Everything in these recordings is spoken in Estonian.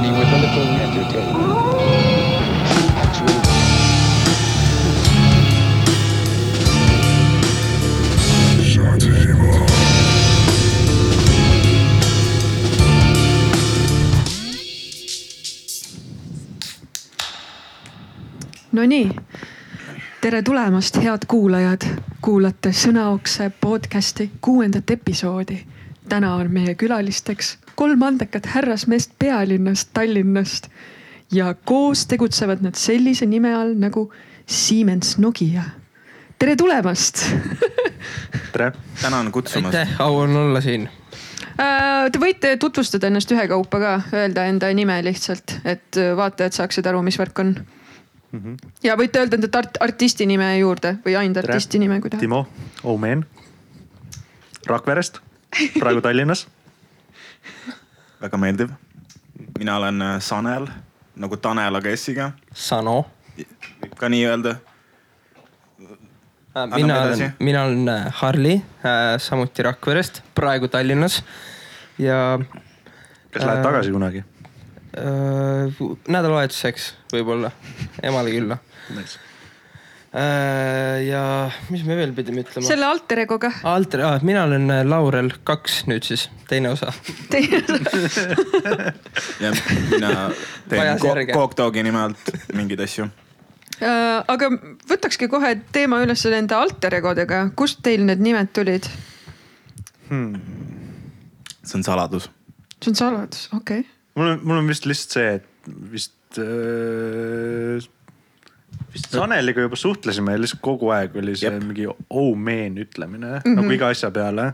king had to take. True. Nonii, tere tulemast , head kuulajad . kuulate Sõnaokse podcast'i kuuendat episoodi . täna on meie külalisteks kolm andekat härrasmeest pealinnast Tallinnast ja koos tegutsevad nad sellise nime all nagu Siemens Nokia . tere tulemast tere , tänan kutsumast . aitäh , au on olla siin . Äh, Te võite tutvustada ennast ühekaupa ka , öelda enda nime lihtsalt , et äh, vaatajad saaksid aru , mis värk on . Mhm. ja võite öelda enda art- , artisti nime juurde või ainult artisti nime , kui tahate . Timo , Omen , Rakverest , praegu Tallinnas . väga meeldiv . mina olen äh, Sanel nagu Tanel , aga S-iga , Sano . võib ka nii öelda . Äh, mina Anname edasi. olen , mina olen äh, Harli , samuti Rakverest , praegu Tallinnas ja kas lähed Äh, tagasi kunagi ? äh, nädalavahetuseks võib-olla emale külla äh, . ja mis me veel pidime ütlema ? selle alter egoga . Alter ah, , mina olen äh, Laurel kaks nüüd siis , teine osa . ja mina teen Vajas ko- järge. Coke-Dogi nime alt mingeid asju . Äh, aga võtakski kohe teema üles nende alter egodega , kust teil need nimed tulid ? see on saladus . see on saladus , okei okay. . mul on , mul on vist lihtsalt see , et vist äh, , vist Saneliga juba suhtlesime ja lihtsalt kogu aeg oli see Jep. mingi Omen ütlemine mm -hmm. nagu iga asja peale .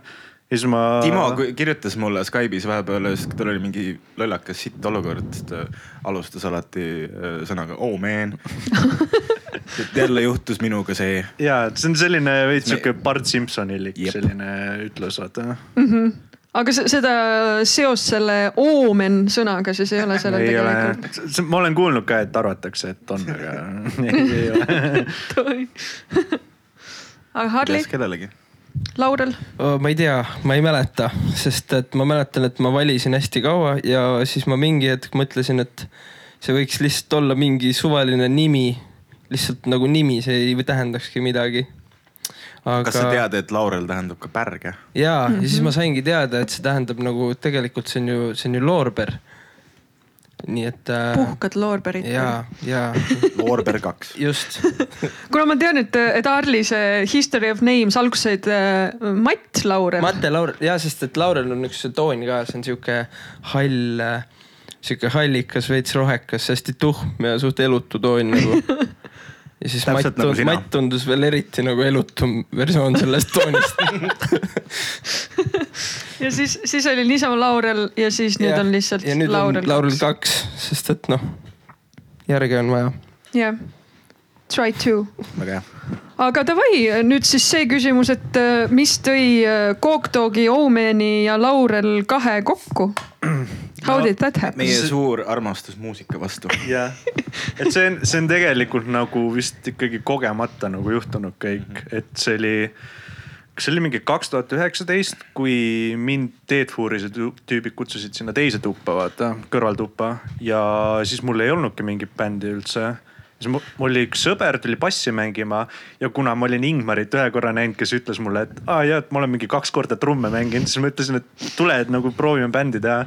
ja siis ma . Timo kui- kirjutas mulle Skype'is vahepeal , tal oli mingi lollakas sitt olukord , sest ta alustas alati äh, sõnaga oh man . et jälle juhtus minuga see . ja et see on selline veits Me- sihuke Bart Simpsonilik Jep. selline ütlus , vaata . aga se- seda seost selle oomen sõnaga siis ei ole sellel ei ole tegelikult ?, ma olen kuulnud ka , et arvatakse , et on , aga ei, ei ole . aga Harli , kellelegi . Laurel ? ma ei tea , ma ei mäleta , sest et ma mäletan , et ma valisin hästi kaua ja siis ma mingi hetk mõtlesin , et see võiks lihtsalt olla mingi suvaline nimi , lihtsalt nagu nimi , see ei tähendakski midagi . aga kas sa ? tead , et Laurel tähendab ka pärge ? ja , ja siis ma saingi teada , et see tähendab nagu tegelikult see on ju , see on ju loorber . nii et äh, puhkad loorberit . ja , ja Loorber kaks . just kuna ma tean , et , et Arli see History of Names alguses said äh, Matt Laurel . Mate Laurel , jaa , sest et Laurel on üks toon ka , see on sihuke hall , sihuke hallikas , veits rohekas , hästi tuhm ja suht elutu toon nagu . ja siis Matt, Täpselt nagu nagu sina. Matt tundus veel eriti nagu elutum versioon sellest toonist . ja siis , siis oli niisama Laurel ja siis nüüd ja, on lihtsalt ja nüüd Laurel, on Laurel . kaks , sest et noh , järge on vaja . jah , try to . väga hea . aga davai , nüüd siis see küsimus , et äh, mis tõi äh, Coke Dogi , Omeni ja Laurel kahe kokku ? How no, did that happen meie... ? meie suur armastus muusika vastu . jah , et see on , see on tegelikult nagu vist ikkagi kogemata nagu juhtunud kõik , et see oli , kas see oli mingi kaks tuhat üheksateist , kui mind Deadfoorise tüübid kutsusid sinna teise tuppa , vaata , kõrvaltuppa ja siis mul ei olnudki mingit bändi üldse siis mu- mul oli üks sõber tuli bassi mängima ja kuna ma olin Ingmarit ühe korra näinud , kes ütles mulle , et aa jaa , et ma olen mingi kaks korda trumme mänginud , siis ma ütlesin , et tule , et nagu proovime bändi teha .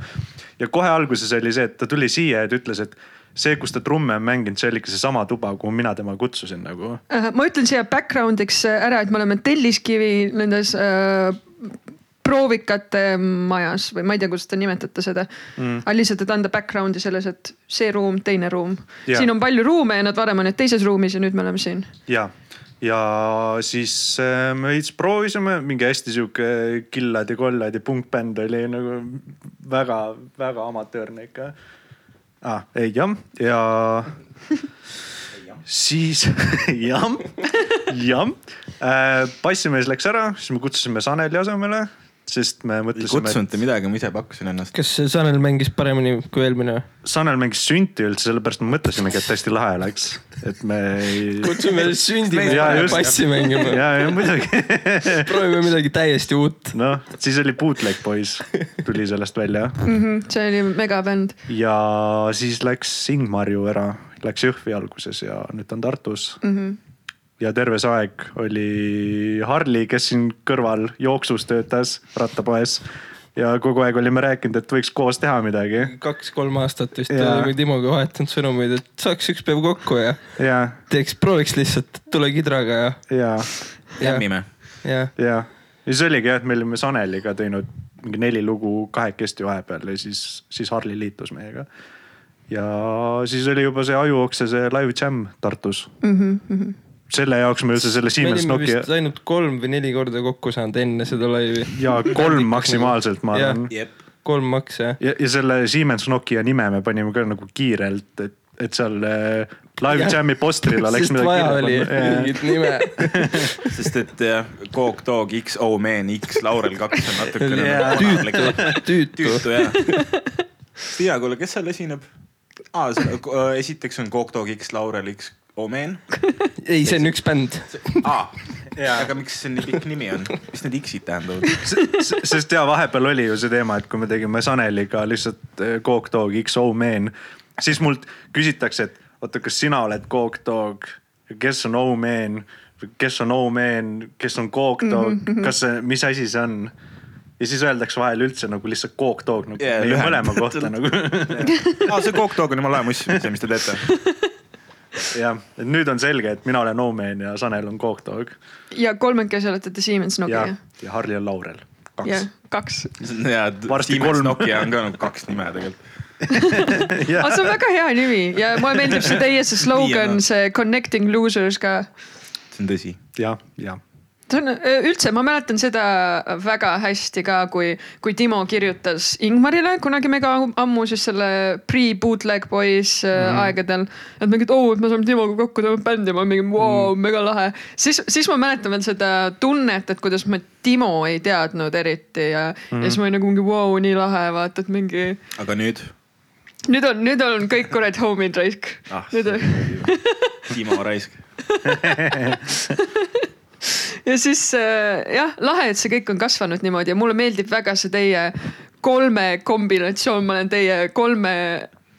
ja kohe alguses oli see , et ta tuli siia ja ta ütles , et see , kus ta trumme on mänginud , see oli ikka seesama tuba , kuhu mina tema kutsusin nagu . Äh, ma ütlen siia background'iks äh, ära , et me oleme Telliskivi nendes äh, proovikate majas või ma ei tea , kuidas te nimetate seda mm. . aga lihtsalt , et anda background'i selles , et see ruum , teine ruum . Jaa. siin on palju ruume ja nad varem olid teises ruumis ja nüüd me oleme siin . ja , ja siis äh, me veits proovisime mingi hästi sihuke killad ja kollad ja punkbänd oli nagu väga-väga amatöörne ikka . ah, . ei jah , ja siis jah , jah äh, . bassimees läks ära , siis me kutsusime Saneli asemele . sest me ei mõtlesime , kutsunud te midagi , ma ise pakkusin ennast . kas see Sanel mängis paremini kui eelmine või ? et Sanel mängis sünti üldse , sellepärast me mõtlesimegi , et hästi lahe oleks , et me ei... . kutsume sündima Jaa, just. passi mängima , ja , ja muidugi . proovime midagi täiesti uut . noh , siis oli Bootleg Boys tuli sellest välja see oli megabänd . ja siis läks Ingmarju ära , läks Jõhvi alguses ja nüüd ta on Tartus mm . -hmm. ja terve see aeg oli Harli , kes siin kõrval jooksus töötas rattapoes ja kogu aeg olime rääkinud , et võiks koos teha midagi kaks-kolm aastat vist Jaa. olime Timoga vahetanud sõnumeid , et saaks üks päev kokku ja ja , teeks , prooviks lihtsalt , tule kidraga ja , ja , jämmime . ja ja , ja see oligi jah , et me olime Saneliga teinud mingi neli lugu kahekesti vahepeal ja siis , siis Harli liitus meiega ja siis oli juba see Ajuokse see live jam Tartus mm . -hmm. selle jaoks me üldse selle me Siemens olime Nokia vist ainult kolm või neli korda kokku saanud enne seda laivi . ja kolm maksimaalselt , ma Jah. arvan . jep . kolm makse jah . ja , ja selle Siemens Nokia nime me panime ka nagu kiirelt , et , et seal äh, Live Jah. Jam'i postrile oleks sest vaja oli midagi kirja mingit nime . sest et jah , Coke Dog , X O Man , X Laurel kaks on natukene Jaa. yeah. tüütu , tüütu . tüütu jah . Tiia , kuule , kes seal esineb ? aa , äh, esiteks on Coke Dog , X Laurel , X O Man . ei , see on üks bänd . aa , aga miks see nii pikk nimi on , mis need X-id tähendavad ? panna . sest ja vahepeal oli ju see teema , et kui me tegime Saneliga lihtsalt äh, Coke Dog XO Man , siis mult küsitakse , et oota , kas sina oled Coke Dog , kes on O Man , kes on O Man , kes on Coke Dog mm , -hmm. kas see , mis asi see on ? ja siis öeldakse vahel üldse nagu lihtsalt Coke Dog nagu Jaa, yeah, meie lühend- mõlema kohta nagu aa , see Coke Dog on jumala hea muss , see , mis te teete . jah , et nüüd on selge , et mina olen Omen ja Sanel on Coke Dog ja kolmekesi olete te Siemens ja Nokia ., ja Harli on Laurel . ja kaks . kaks . ja , Varsti Siemens kolm. Nokia on ka nagu kaks nime tegelikult . Jah. aga Ah, see on väga hea nimi ja mulle meeldib see teie see slogan , Nii, see connecting losers ka see on tõsi . ja , ja , see on öö, üldse , ma mäletan seda väga hästi ka , kui , kui Timo kirjutas Ingmarile kunagi mega ammu siis selle pre-bootleg boys mm. aegadel . et mingid oo , et me saame Timoga kokku teha bändi , ma mingi vau , mega lahe . siis , siis ma mäletan veel seda tunnet , et kuidas ma Timo ei teadnud eriti ja mm. , ja siis ma olin nagu mingi vau , nii lahe , vaata , et mingi . aga nüüd ? nüüd on , nüüd on kõik kuradi homid raisk ah , nüüd on Timo Raisk . ja siis äh, jah , lahe , et see kõik on kasvanud niimoodi ja mulle meeldib väga see teie kolme kombinatsioon , ma olen teie kolme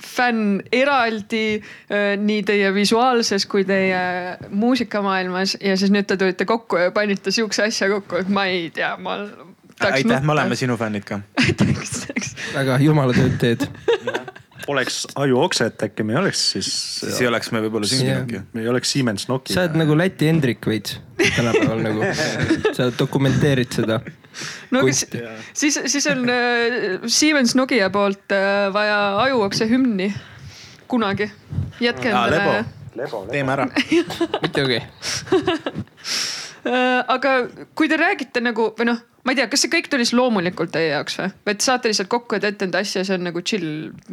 fänn eraldi äh, nii teie visuaalses kui teie muusikamaailmas ja siis nüüd te tulite kokku ja panite siukse asja kokku , et ma ei tea , ma tahaks aitäh , me oleme . sinu fännid ka . väga jumala tööd teed . poleks ajuokset , äkki me ei oleks siis , siis ei oleks me võib-olla sündinudki . me ei oleks Siemens Nokia . sa oled nagu Läti Hendrik veits tänapäeval nagu . sa dokumenteerid seda . no aga Kunst- si- siis , siis on äh, Siemens Nokia poolt äh, vaja ajuokse hümni kunagi . jätke aa , Lebo endale ., teeme ära . muidugi . Äh, aga kui te räägite nagu või noh , ma ei tea , kas see kõik tuli siis loomulikult teie jaoks või ? või et saate lihtsalt kokku ja teete enda asja , see on nagu chill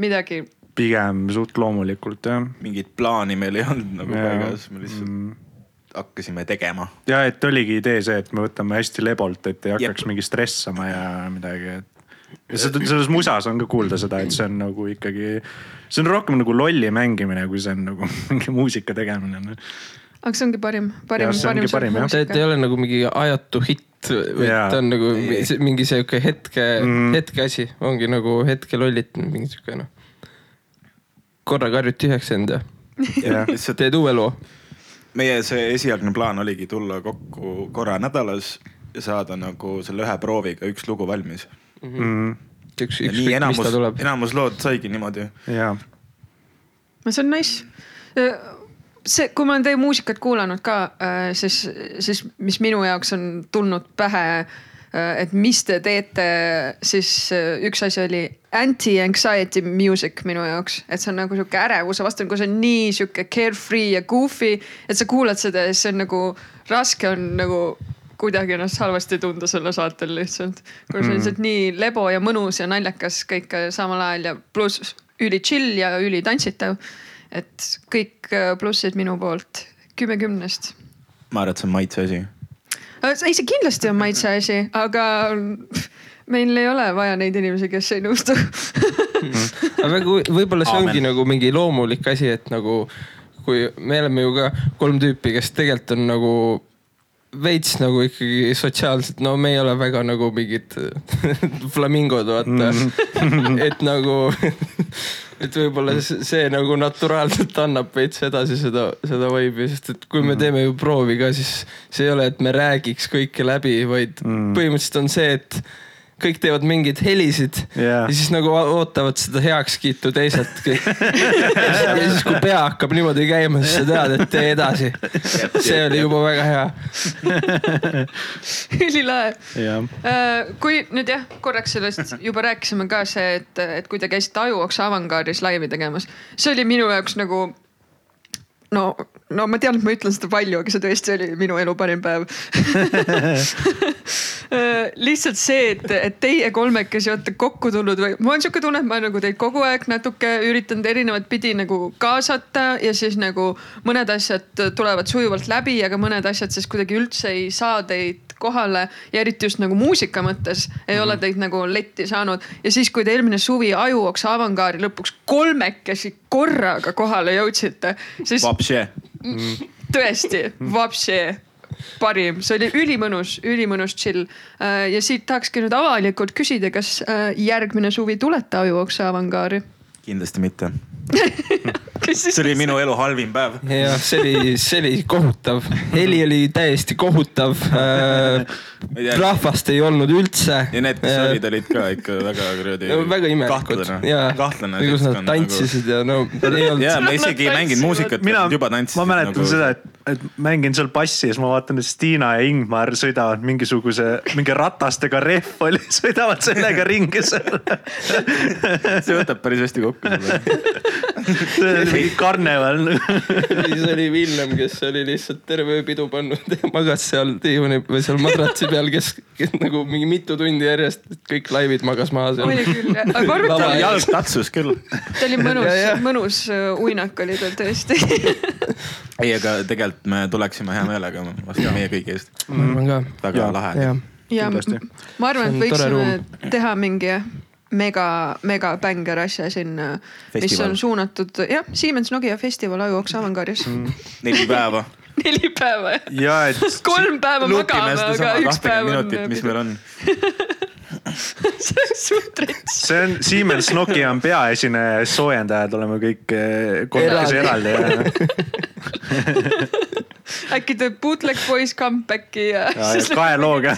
midagi . pigem suht loomulikult jah . mingit plaani meil ei olnud nagu Jaa. paigas , me lihtsalt mm. hakkasime tegema . ja et oligi idee see , et me võtame hästi lebolt , et ei Jep. hakkaks mingi stressama ja midagi , et . ja seda , selles musas on ka kuulda seda , et see on nagu ikkagi , see on rohkem nagu lolli mängimine , kui see on nagu mingi muusika tegemine . noh. aga see ongi parim , parim , Jah, see ongi parim, jah. see , et ei ole nagu mingi ajatu hitt , vaid Jaa. ta on nagu Ei. see- mingi sihuke hetke mm. , hetke asi , ongi nagu hetke lollitamine , mingi sihuke noh . korraga harjuti üheks enda , lihtsalt teed uue loo . meie see esialgne plaan oligi tulla kokku korra nädalas ja saada nagu selle ühe prooviga üks lugu valmis . mm, üks , ja üks , nii mis enamus ta , tuleb . enamus lood saigi niimoodi . ja , no see on nice . Äh, see , kui ma olen teie muusikat kuulanud ka , siis , siis mis minu jaoks on tulnud pähe , et mis te teete , siis äh, üks asi oli anti-anxiety music minu jaoks , et see on nagu sihuke ärevuse vastane , kui see on nii sihuke carefree ja goofy , et sa kuulad seda ja siis see on nagu raske on nagu kuidagi ennast halvasti tunda selle saatel lihtsalt . kuna see on lihtsalt nii lebo ja mõnus ja naljakas kõik samal ajal ja pluss üli chill ja üli tantsitav . et kõik äh, plussid minu poolt kümme kümnest . Äh, ma arvan , et see on maitse asi . ei , see kindlasti on maitse asi , aga meil ei ole vaja neid inimesi , kes ei nõustu . aga väga huvi- võib-olla see Aamen. ongi nagu mingi loomulik asi , et nagu kui me oleme ju ka kolm tüüpi , kes tegelikult on nagu veits nagu ikkagi sotsiaalselt , no me ei ole väga nagu mingid flamingod , vaata . et nagu , et võib-olla s- see nagu naturaalselt annab veits edasi seda , seda vibe'i , sest et kui me teeme ju proovi ka , siis see ei ole , et me räägiks kõike läbi , vaid Mm. põhimõtteliselt on see , et kõik teevad mingeid helisid Jaa. ja siis nagu o- ootavad seda heakskiitu teiselt . ja siis , kui pea hakkab niimoodi käima , siis sa tead , et tee edasi . see oli juba väga hea . ülilae . jah . Äh, kui nüüd jah , korraks sellest juba rääkisime ka see , et , et kui te käisite Ajuoksa avangaaris laivi tegemas , see oli minu jaoks nagu no , no ma tean , et ma ütlen seda palju , aga see tõesti oli minu elu parim päev . lihtsalt see , et , et teie kolmekesi olete kokku tulnud või mul on sihuke tunne , et ma nagu teid kogu aeg natuke üritanud erinevat pidi nagu kaasata ja siis nagu mõned asjad tulevad sujuvalt läbi , aga mõned asjad siis kuidagi üldse ei saa teid kohale ja eriti just nagu muusika mõttes ei ole teid nagu letti saanud ja siis , kui te eelmine suvi Ajuoksa avangaari lõpuks kolmekesi korraga kohale jõudsite , siis Vapše . tõesti , vapsi parim , see oli ülimõnus , ülimõnus chill . ja siit tahakski nüüd avalikult küsida , kas äh, järgmine suvi tulete Ajuoksa avangaari ? kindlasti mitte . kes siis see oli minu elu halvim päev . jah , see oli , see oli kohutav , heli oli täiesti kohutav . ei tea. rahvast ei olnud üldse . ja need , kes olid , olid ka ikka väga kuradi . väga imelikud ja kahtlane . kahtlane . nagu. kus nad tantsisid ja no ei ja olnud . me isegi ei mänginud muusikat , mina nad , juba tantsisid . ma mäletan nagu... seda , et , et mängin seal bassi ja siis ma vaatan , et Stiina ja Ingmar sõidavad mingisuguse , mingi ratastega rehv oli , sõidavad sellega ringi seal . see võtab päris hästi kokku . see oli mingi karneval . siis oli Villem , kes oli lihtsalt terve öö pidu pannud ja magas seal diivani või seal madratsi peal , kes kes nagu mingi mitu tundi järjest kõik laivid magas maha oli seal . küll , aga ma arvan , et ta Lava- oli , jalg tatsus küll . ta oli mõnus Ja, ja. , mõnus äh, uinak oli tal tõesti . ei , aga tegelikult me tuleksime hea meelega vastu meie kõigi eest . ma arvan ka väga lahe jah ., ja Kindlasti. m- ma arvan , et See on tore võiksime teha mingi mega , mega bängar asja sinna , mis Festival. on suunatud jah , Siemens Nokia festival Ajuoksa avangaaris mm. . neli päeva . neli päeva jah ja et kolm päeva magame , aga üks päev on . nagu- minutit , mis meil on . see on suht rets . see on Siemens Nokia on peaesineja ja soojendajad oleme kõik eh, kolmekesi Eraldi. eraldi ja äkki teeb Bootleg Boys comeback'i ja, ja- ja kahe looga .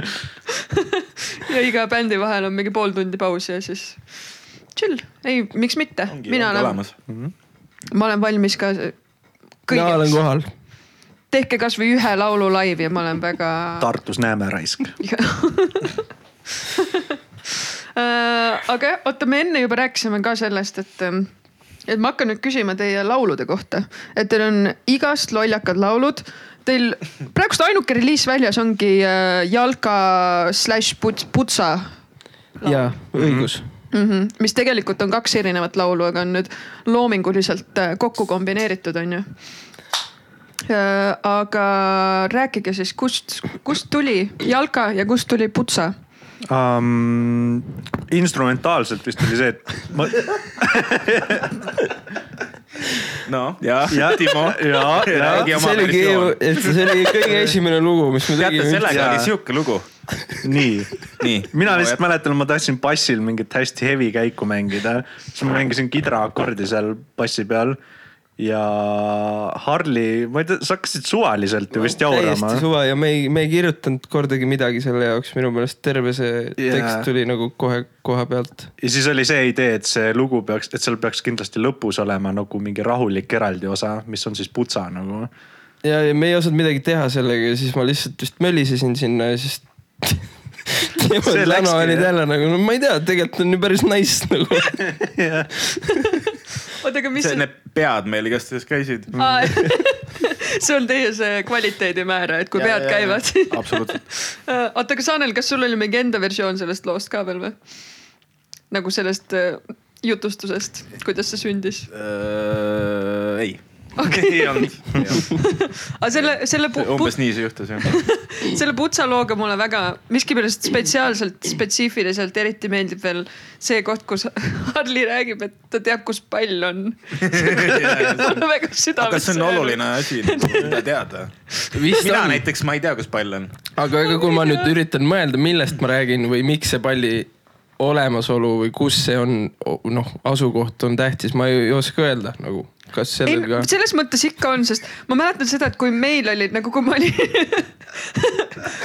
ja iga bändi vahel on mingi pool tundi pausi ja siis chill . ei , miks mitte , mina olen , ma olen valmis ka mina olen kõigeks . kohal . tehke kasvõi ühe laulu laivi ja ma olen väga . Tartus näeme raisk . Äh, aga jah , oota , me enne juba rääkisime ka sellest , et , et ma hakkan nüüd küsima teie laulude kohta , et teil on igast lollakad laulud . Teil praegust ainuke reliis väljas ongi äh, Jalka slaš Puts- Putsa jaa , õigus . mm , -hmm, mis tegelikult on kaks erinevat laulu , aga on nüüd loominguliselt äh, kokku kombineeritud , onju . aga rääkige siis , kust , kust tuli Jalka ja kust tuli Putsa ? um, . instrumentaalselt vist oli see , et ma no ja, ja , Timo . ja , ja Räägi oma see oligi , versioon. see oli kõige esimene lugu , mis me teate , tegime . sellega Jaa. oli sihuke lugu . nii . nii . mina lihtsalt . mäletan , ma tahtsin bassil mingit hästi heavy käiku mängida , siis ma mängisin kidraakordi seal bassi peal ja Harli , ma ei tea , sa hakkasid suvaliselt ju vist jaurama täiesti . suva ja me ei , me ei kirjutanud kordagi midagi selle jaoks , minu meelest terve see Jaa. tekst tuli nagu kohe koha pealt . ja siis oli see idee , et see lugu peaks , et seal peaks kindlasti lõpus olema nagu mingi rahulik eraldi osa , mis on siis putsa nagu . ja , ja me ei osanud midagi teha sellega ja siis ma lihtsalt vist mölisesin sinna ja siis . See Lano läkski, oli jah. jälle nagu , no ma ei tea , tegelikult on ju päris nice nagu . oota , aga mis Need pead meil igastahes käisid . Aa, see on teie see kvaliteedimäär , et kui pead käivad . absoluutselt . oota , aga Sanel , kas sul oli mingi enda versioon sellest loost ka veel või ? nagu sellest äh, jutustusest , kuidas see sündis ? ei , okei , ei olnud . aga Ah, selle , selle pu- pu- umbes nii see juhtus jah . selle putsalooga mulle väga miskipärast spetsiaalselt , spetsiifiliselt eriti meeldib veel see koht , kus Harli räägib , et ta teab , kus pall on . mulle väga südames . kas see on oluline ? asi , mida teada ? vist mina on , näiteks , ma ei tea , kus pall on . aga ega kui ma nüüd üritan mõelda , millest ma räägin või miks see palli olemasolu või kus see on , noh , asukoht on tähtis , ma ei, ei oska öelda nagu , kas ei sellel , ka . selles mõttes ikka on , sest ma mäletan seda , et kui meil oli nagu , kui ma olin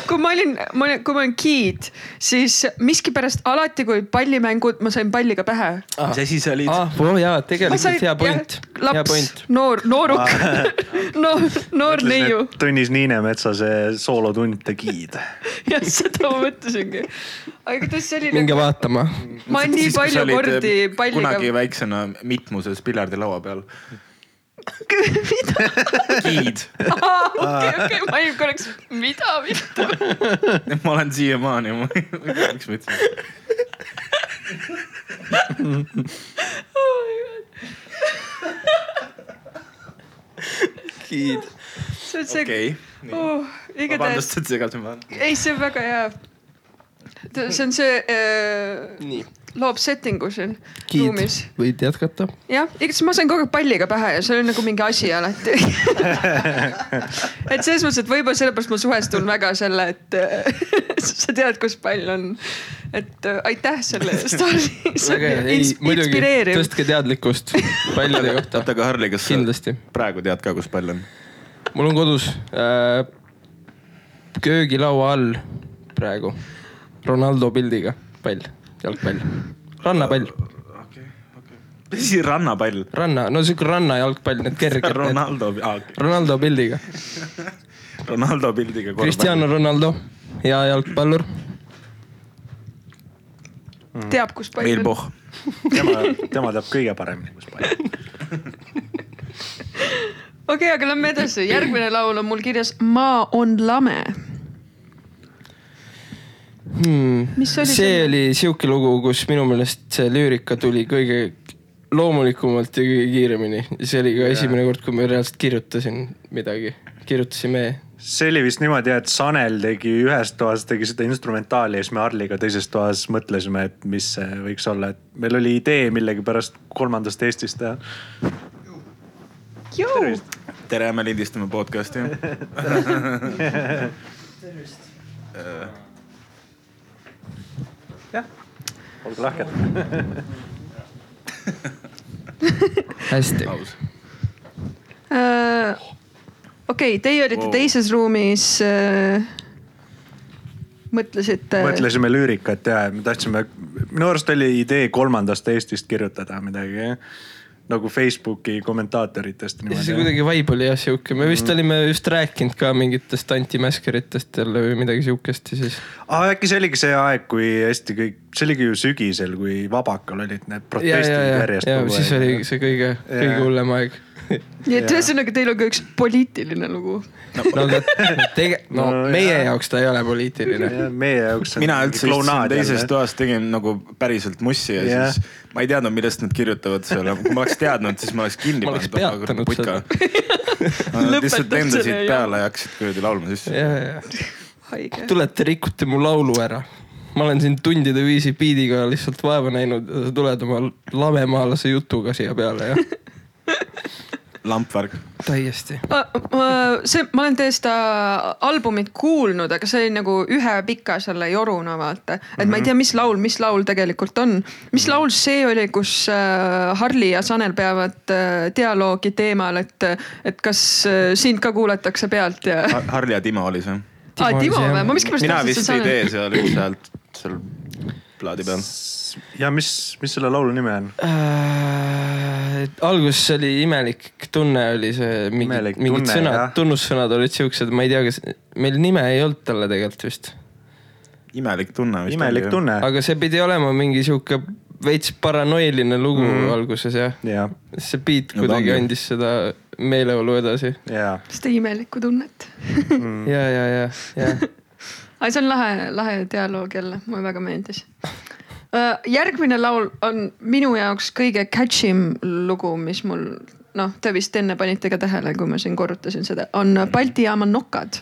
kui ma olin , ma olin , kui ma olin kid , siis miskipärast alati , kui pallimängud , ma sain palliga pähe . Ah. mis asi see oli ? ah, . oo jaa , ma tegelikult sain hea point , hea laps point ., noor , nooruk , noor , noor neiu . Tõnis Niinemetsa see soolotund Tegid . jah , seda ma mõtlesingi . aga kuidas see oli minge nagu , vaatama . ma nii palju kordi palliga . äh, ähm, kunagi väiksena mitmuses piljardilaua peal . mida , giid . okei , okei , ma olin korraks , mida , mida . ma olen siiamaani , ma ei tea , miks ma ütlesin . giid . see on see , okei . igatahes vabandust ,, et segasin vahele . ei , see on väga hea . see on see äh, , nii , loob setting'u siin giid ruumis ., võid jätkata . jah , igatahes ma sain kogu aeg palliga pähe ja see oli nagu mingi asi alati . et selles mõttes , et võib-olla sellepärast ma suhestun väga selle , et äh, sa tead , kus pall on . et äh, aitäh selle eest , Harri . see väga hea , on ei ins- muidugi , inspireeriv . tõstke teadlikkust pallide oota , kohta , aga Harli , kas sa kindlasti . praegu tead ka , kus pall on ? mul on kodus äh, köögilaua all praegu Ronaldo pildiga pall , jalgpall , rannapall , okei , okei . mis asi rannapall ? ranna , no siuke rannajalgpall , need kerged , need Ronaldo , aa okei , Ronaldo pildiga , Ronaldo pildiga . Cristiano . Ronaldo , hea jalgpallur , Mm. teab , kus pall Neil on . Pohh . tema , tema teab kõige paremini , kus pall on . okei , aga lähme edasi , järgmine Mm. laul on mul kirjas Maa on lame . hmm. Mis oli see selle- oli sihuke lugu , kus minu meelest see lüürika tuli kõige loomulikumalt ja kõige kiiremini . see oli ka esimene kord , kui ma reaalselt kirjutasin midagi , kirjutasime . see oli vist niimoodi , et Sanel tegi ühes toas tegi seda instrumentaali ja siis me Harliga teises toas mõtlesime , et mis see võiks olla , et meil oli idee millegipärast kolmandast Eestist teha . tere , me lindistame podcast'i . olge lahked . hästi , aus . Äh, okei , teie olite Wow. teises ruumis äh, . mõtlesite . mõtlesime lüürikat ja me tahtsime , minu arust oli idee kolmandast Eestist kirjutada midagi nagu Facebooki kommentaatoritest ja siis niimoodi . kuidagi vibe oli jah sihuke , me Mm. vist olime just rääkinud ka mingitest antimaskeritest jälle või midagi sihukest ja siis . aga äkki see oligi see aeg , kui hästi kõik , see oligi ju sügisel , kui Vabakal olid ja , need protestid ja , ja , järjest ja siis oli see kõige , kõige Jaa. hullem aeg . nii et Jaa. ühesõnaga , teil on ka üks poliitiline lugu . no aga tege- , no No meie jaa. jaoks ta ei ole poliitiline . Ja meie jaoks . mina üldse istusin teises . toas , tegin nagu päriselt mussi ja Jah. siis ma ei teadnud , millest nad kirjutavad seal , kui ma oleks teadnud , siis ma oleks kinni Ma oleks peatanud Nad lihtsalt Lõpetad lendasid selle, jah. peale ja hakkasid kuradi laulma sisse . ja , ja , ja haige . tulete , rikute mu laulu ära . ma olen siin tundide viisi biidiga lihtsalt vaeva näinud ja sa tuled oma lamemaalase jutuga siia peale ja lampvärk . täiesti . see , ma olen teie seda albumit kuulnud , aga see oli nagu ühe pika selle joruna vaata , et mm -hmm. ma Mhm. ei tea , mis laul , mis laul tegelikult on . mis laul see oli , kus äh, Harli ja Sanel peavad äh, dialoogi teemal , et , et kas äh, sind ka kuulatakse pealt ja . Harli ja Ah, Timo oli see . aa , Timo või , ma miskipärast . mina vist ei tee seal üldse häält seal plaadi peal . ja mis , mis selle laulu nimi on ? Äh, alguses oli imelik tunne , oli see mingi Imelik , mingid tunne, sõnad jah. , tunnussõnad olid siuksed , ma ei tea , kas meil nime ei olnud talle tegelikult vist , imelik tunne . imelik . tunne . aga see pidi olema mingi sihuke veits paranoiline lugu mm. alguses jah . ja , see beat No ta kuidagi ongi. andis seda meeleolu edasi ja seda imelikku tunnet . mm. ja , ja , ja , ja aga see on lahe , lahe dialoog jälle , mulle väga meeldis . järgmine laul on minu jaoks kõige catch im lugu , mis mul noh , te vist enne panite ka tähele , kui ma siin korrutasin seda , on Balti jaama nokad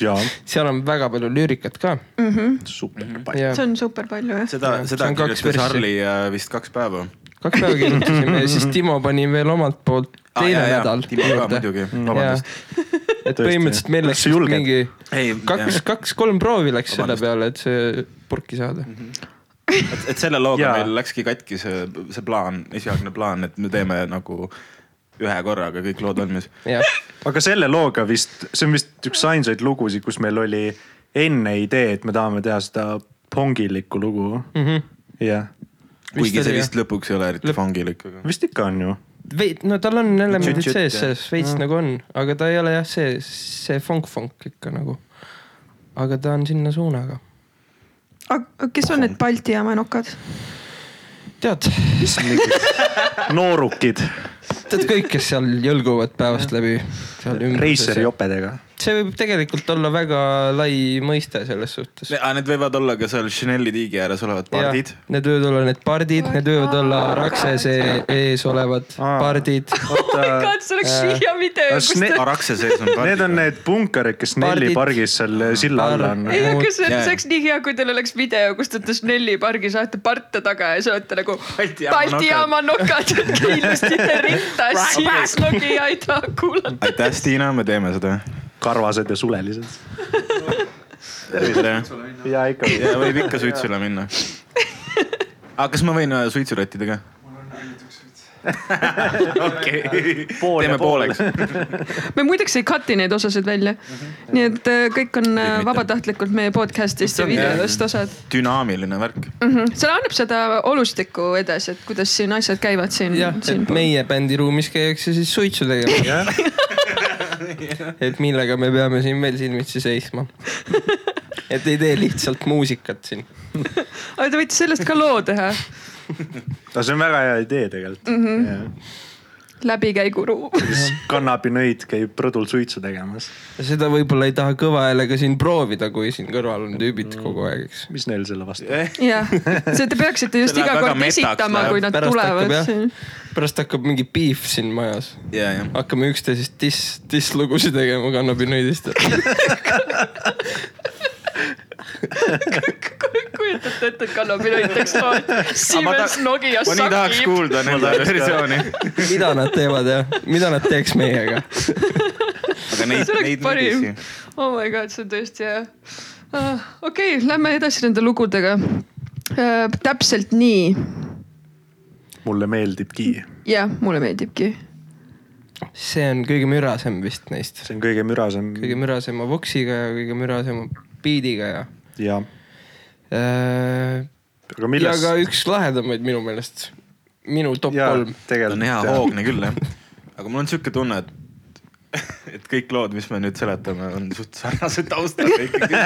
ja seal on väga palju lüürikat ka . mm . -hmm. super mm . -hmm. ja see on super palju jah . seda Jah, , see seda on kaks kirjutas verssi. Harli äh, vist kaks päeva . kaks päeva kirjutasime ja siis Timo pani veel omalt poolt teine ah, nädal juurde . muidugi . et vabandust , põhimõtteliselt meil läks Kas sa vist julged? mingi ei , kaks , kaks-kolm proovi läks selle Vabandust. peale , et see purki saada . et, et selle looga Jaa. ja. meil läkski katki see , see plaan , esialgne plaan , et me teeme nagu ühe korraga kõik lood valmis . jah , aga selle looga vist , see on vist üks ainsaid lugusid , kus meil oli enne idee , et me tahame teha seda pongilikku lugu . Mhm. jah , kuigi see oli, vist lõpuks ei ole eriti Lõp- fungilik , aga . vist ikka on ju . veid , no tal on elemendid Tšüt-tšüt, sees , jah. selles veits nagu on , aga ta ei ole jah , see , see funk-funk ikka nagu . aga ta on sinna suunaga . kes on need Balti jaama nokad ? tead , noorukid , tead kõik , kes seal jõlguvad päevast läbi seal reiseri ümbruses . jopedega . see võib tegelikult olla väga lai mõiste selles suhtes . Need võivad olla ka seal Chanel'i tiigi ääres olevad pardid . Need võivad olla need pardid , need võivad olla rakse see ees olevad Aa. pardid . oota , see oleks siia video , kus ne- ta Arakse sees on pardid . need on . need punkarid , kes Nelli Pardid. pargis seal silla all on . ei , aga see jaa. see oleks nii hea , kui teil oleks video , kus te olete Snelli pargis , olete parte taga ja siis olete nagu Balti jaama Balti jaama nokad , kindlasti te ritta , siis Nokia ei taha kuulata . aitäh , Stiina , me teeme seda . karvased ja sulelised . ja ja ikkagi . võib ikka suitsule minna . aga kas ma võin äh, suitsurottida ka ? okei , Pool ja teeme pool. pooleks . me muideks ei cut'i neid osasid välja . nii et äh, kõik on äh, Mhm. mitte. vabatahtlikult meie podcast'ist ja See on hea. videost osad dünaamiline värk . mm . -hmm. see annab seda olustikku edasi , et kuidas siin asjad käivad siin jah ,, siin et . meie bändi ruumis käiakse siis suitsu tegemas . et millega me peame siin veel silmitsi seisma . et ei tee lihtsalt muusikat siin . aga te võite sellest ka loo teha , no see on väga hea idee tegelikult mm . -hmm. läbikäiguruum . siis kannabinõid käib rõdul suitsu tegemas . seda võib-olla ei taha kõva häälega siin proovida , kui siin kõrval on tüübid kogu aeg , eks . mis neil selle vastu ? jah , see te peaksite just See läheb iga väga kord metaks esitama , läheb. kui nad pärast hakkab tulevad jah siin ., pärast hakkab mingi beef siin majas . ja , ja . hakkame üksteisest diss , disslugusid tegema kannabinõidist . kujutate ette , et Kallo Piret , eks ole , Siemens , Nokia , ma nii tahaks Sakib . kuulda nende tahaks ka. versiooni . mida nad teevad ja mida nad teeks meiega ? aga neid see , oleks neid parim niiviisi .. oh my god , see on tõesti hea uh, . okei okay, , lähme edasi nende lugudega uh, . täpselt nii , mulle meeldibki , jah , mulle meeldibki . see on kõige mürasem vist neist . see on kõige mürasem kõige mürasema voksiga ja kõige mürasema biidiga ja ja , äh, . aga ja millest ka ? üks lahedamaid minu meelest , minu top ja. kolm . ta on hea . hoogne küll jah , aga mul on sihuke tunne , et , et kõik lood , mis me nüüd seletame , on suht sarnase taustaga ikkagi .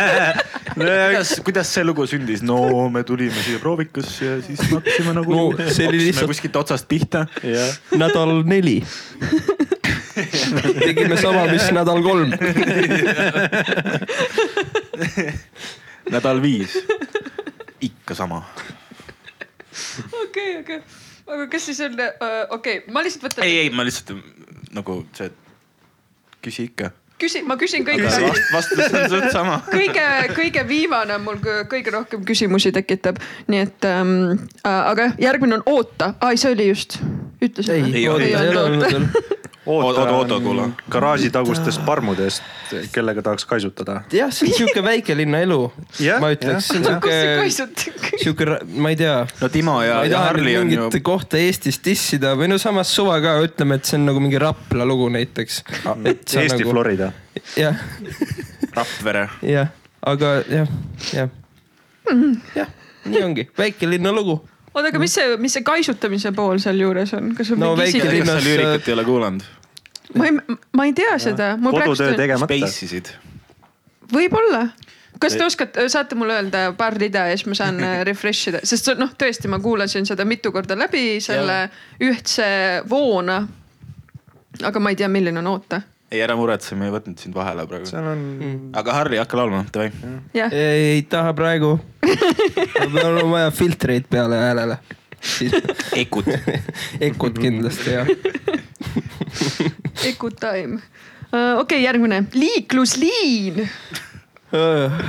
kuidas , kuidas see lugu sündis ? no me tulime siia proovikusse ja siis hakkasime nagu No, see oli hakkasime lihtsalt- kuskilt otsast pihta . jah , nädal neli . tegime sama , mis nädal kolm . nädal viis , ikka sama . okei , aga , aga kas siis on uh, , okei okay, , ma lihtsalt võtan , ei , ei ma lihtsalt nagu see , küsi ikka . küsin , ma küsin kõik aga ära . vast, vastus on suht sama . kõige , kõige viimane mul kõ- kõige rohkem küsimusi tekitab , nii et ähm, äh, aga jah, järgmine on oota , ai , see oli just , ütlesin . Ei olnud, ei oota , Oota, oota, oota , kuula. kuula . garaažitagustest parmudest , kellega tahaks kaisutada . jah , see on sihuke väikelinna elu , Jah, ma ütleks , see on kus see sihuke , kaisutab ? sihuke , ma ei tea no Timo ja ma ei , ja taha Harli nüüd on mingit ju ju... kohta Eestis dissida või no samas suva ka , ütleme , et see on nagu mingi Rapla lugu näiteks . Ah, Eesti nagu... . Florida . jah , Rakvere . jah , aga jah , jah , jah , nii ongi , väikelinna lugu . oota , aga mis see , mis see kaisutamise pool sealjuures on , kas on No mingi väike- isik , kas sa Linnas- lüürikat ei ole kuulanud ? ma ei , ma ei tea seda , mul kodutöö praegu , tegemata . Space isid võib-olla . kas te oskate , saate mulle öelda paar rida ja siis ma saan äh, refresh ida , sest see- noh , tõesti , ma kuulasin seda mitu korda läbi , selle ühtse voona . aga ma ei tea , milline on oota ei , ära muretse , me ei võtnud sind vahele praegu . seal on aga Harri , hakka laulma , davai . Mm. jah , ei ei taha praegu . mul on vaja filtreid peale häälele . Ekut . Ekut kindlasti jah . Eku time . okei , järgmine , liiklusliin . Äh.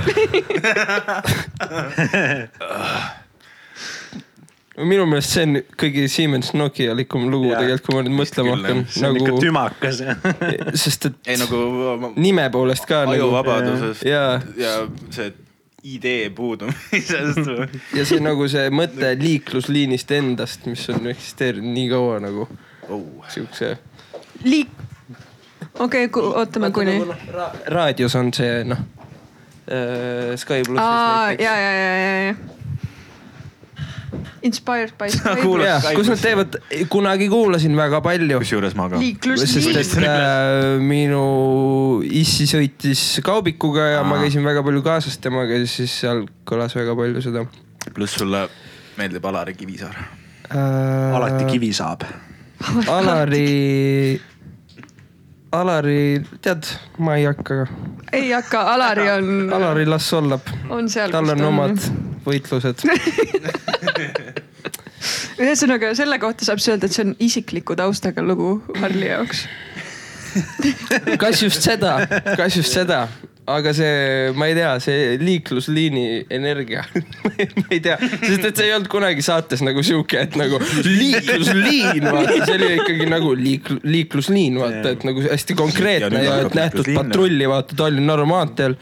minu meelest see on kõige Siemens Nokia likum lugu Jaa. tegelikult , kui ma nüüd mõtlema Vist küll, hakkan jah. . see on ikka nagu , tümakas sest et ei nagu nime poolest ka nagu ajuvabadusest ja, Jaa. ja see idee puudumisest või ? ja see nagu see mõte liiklusliinist endast , mis on eksisteerinud nii kaua nagu oh. . siukse . liik , okei okay, , ootame , kuni . raadios on see noh , Sky aa , plussis ja , ja , ja , ja , ja . Inspired by Sky kuulad- jaa pluss , Sky kus nad plussi. teevad , kunagi kuulasin väga palju , kusjuures ma ka . sest liiklusliin et . äh, minu issi sõitis kaubikuga ja ma Aa. käisin väga palju kaasas temaga ja siis seal kõlas väga palju seda . pluss sulle meeldib Alari Kivisaar . Äh, alati . kivi saab . Alari , Alari , tead , ma ei hakka , ei hakka , Alari on , Alari las olla . on seal . Mm. tal on omad võitlused . ühesõnaga selle kohta saab siis öelda , et see on isikliku taustaga lugu Harli jaoks . kas just seda , kas just seda , aga see , ma ei tea , see liiklusliini energia , ma ei tea , sest et see ei olnud kunagi saates nagu sihuke , et nagu liiklusliin , vaata , see oli ikkagi nagu liik- , liiklusliin , vaata , et nagu hästi Ja nüüd konkreetne ja hakkab et nähtud liiklusliin. patrulli , vaata Tallinna maanteel .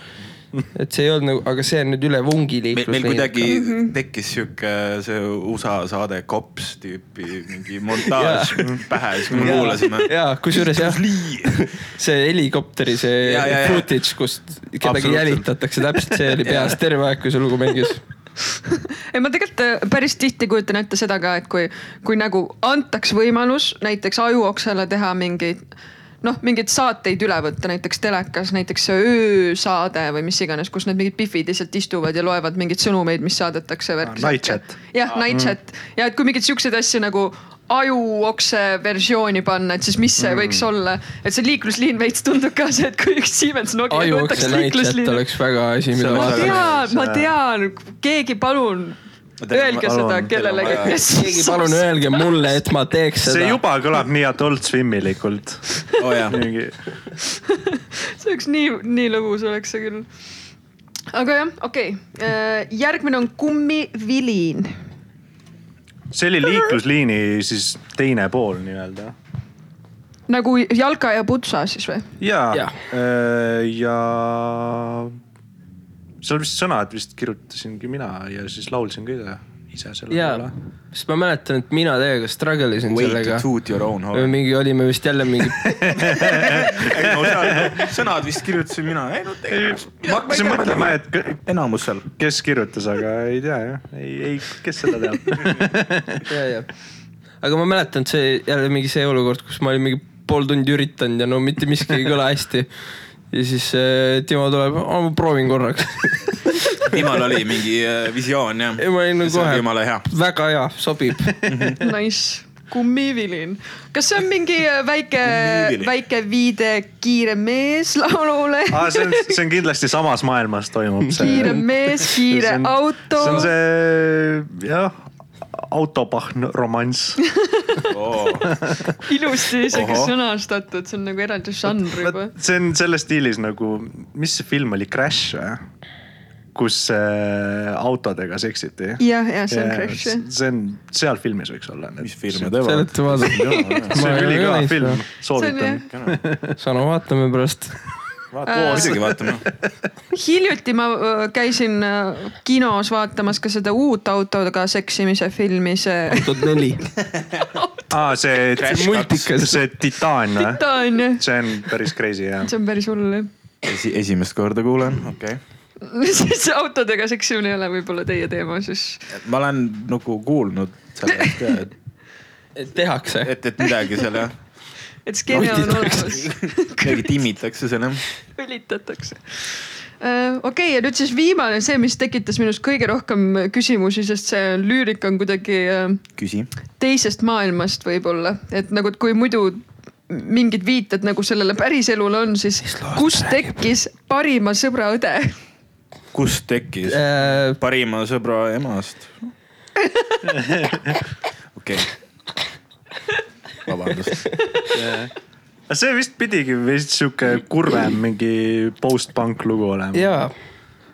et see ei olnud nagu , aga see on nüüd üle vungi meil , meil liiklusliin . kuidagi Mhm. tekkis sihuke see USA saade Cops tüüpi mingi montaaž pähe , siis kui me kuulasime . ja kusjuures jah , see helikopteri see Jaa, jaa, jaa. footage , kust kedagi Absoluutselt. jälitatakse , täpselt see oli peas terve aeg , kui see lugu mängis ei , ma tegelikult äh, päris tihti kujutan ette seda ka , et kui , kui nagu antaks võimalus näiteks ajuoksele teha mingeid noh , mingeid saateid üle võtta , näiteks telekas , näiteks see öösaade või mis iganes , kus need mingid pihvid lihtsalt istuvad ja loevad mingeid sõnumeid , mis saadetakse . Nightchat. Ah. jah , Nightchat ja et kui mingeid siukseid asju nagu ajuokse versiooni panna , et siis mis see võiks olla , et see liiklusliin veits tundub ka see , et kui üks Siemens Nokia võtaks ajuokse liiklusliini nightchat . oleks väga asi , mida See ma oleks vaadata . tean , ma see- tean , keegi palun öelge palun, seda teil on kellelegi , vaja- kes . keegi palun . öelge mulle , et ma teeks see seda . juba kõlab nii Adult Swimilikult . oo Oh, jaa , mingi see oleks nii , nii lõbus oleks see küll . aga jah , okei okay. , järgmine on kummivilin . see oli liiklusliini siis teine pool nii-öelda . nagu jalka ja putsa siis või ? ja , Jah. ja seal vist sõnad vist kirjutasingi mina ja siis laulsin ka ise , ise selle jaa peale ., sest ma mäletan , et mina teiega struggle isin way to sellega . toot your own me horn . mingi olime vist jälle mingi , sõnad vist kirjutasin mina , ei no tegelikult . ma hakkasin mõtlema , et k- enamus seal . kes kirjutas , aga ei tea jah , ei , ei , kes seda teab . aga ma mäletan , et see jälle mingi see olukord , kus ma olin mingi pool tundi üritanud ja no mitte miski ei kõla hästi . ja siis äh, Timo tuleb , ma proovin korraks . Imal oli mingi äh, visioon jah . ei ma olin nagu see kohe oli jumala hea . väga hea , sobib . Nice , kummivilin . kas see on mingi äh, väike Kummivilin. , väike viide Kiire mees laulule ? aa , see on , see on kindlasti samas maailmas toimub see . kiire mees , kiire See on- auto see . on see jah , autopahn romanss . ilusti isegi Ohoh. sõnastatud , see on nagu eraldi žanr juba . see on selles stiilis nagu , mis see film oli , Crash või ? kus äh, autodega seksiti . jah , jah , see on Crash jah . see on , seal filmis võiks olla . mis filme see teevad ? olete vaadanud ? see on ülikõva film , See soovitan on . Sano , vaatame pärast . muidugi vaatame . hiljuti ma äh, käisin äh, kinos vaatamas ka seda uut autoga seksimise filmi , see tuhat neli . aa , see , Crash kaks. see Titan või ? ta on ju , see on päris crazy jah . see on päris hull jah . esi , esimest korda kuulen , okei okay. . siis autodega seksimine ei ole võib-olla teie teema siis . ma olen nagu kuulnud sellest ka , et , tehakse . et , et midagi seal jah , et skeemi on olemas , midagi timmitakse seal jah . õlitatakse . okei , ja nüüd siis viimane , see , mis tekitas minus kõige rohkem küsimusi , sest see lüürik on kuidagi äh, küsi . teisest maailmast võib-olla , et nagu , et kui muidu mingid viited nagu sellele päriselule on , siis kus tekkis parima sõbra õde ? kust tekkis Äh, parima sõbra emast ? okei . vabandust . aga see vist pidigi vist sihuke kurvem mingi post-punk lugu olema . jaa ,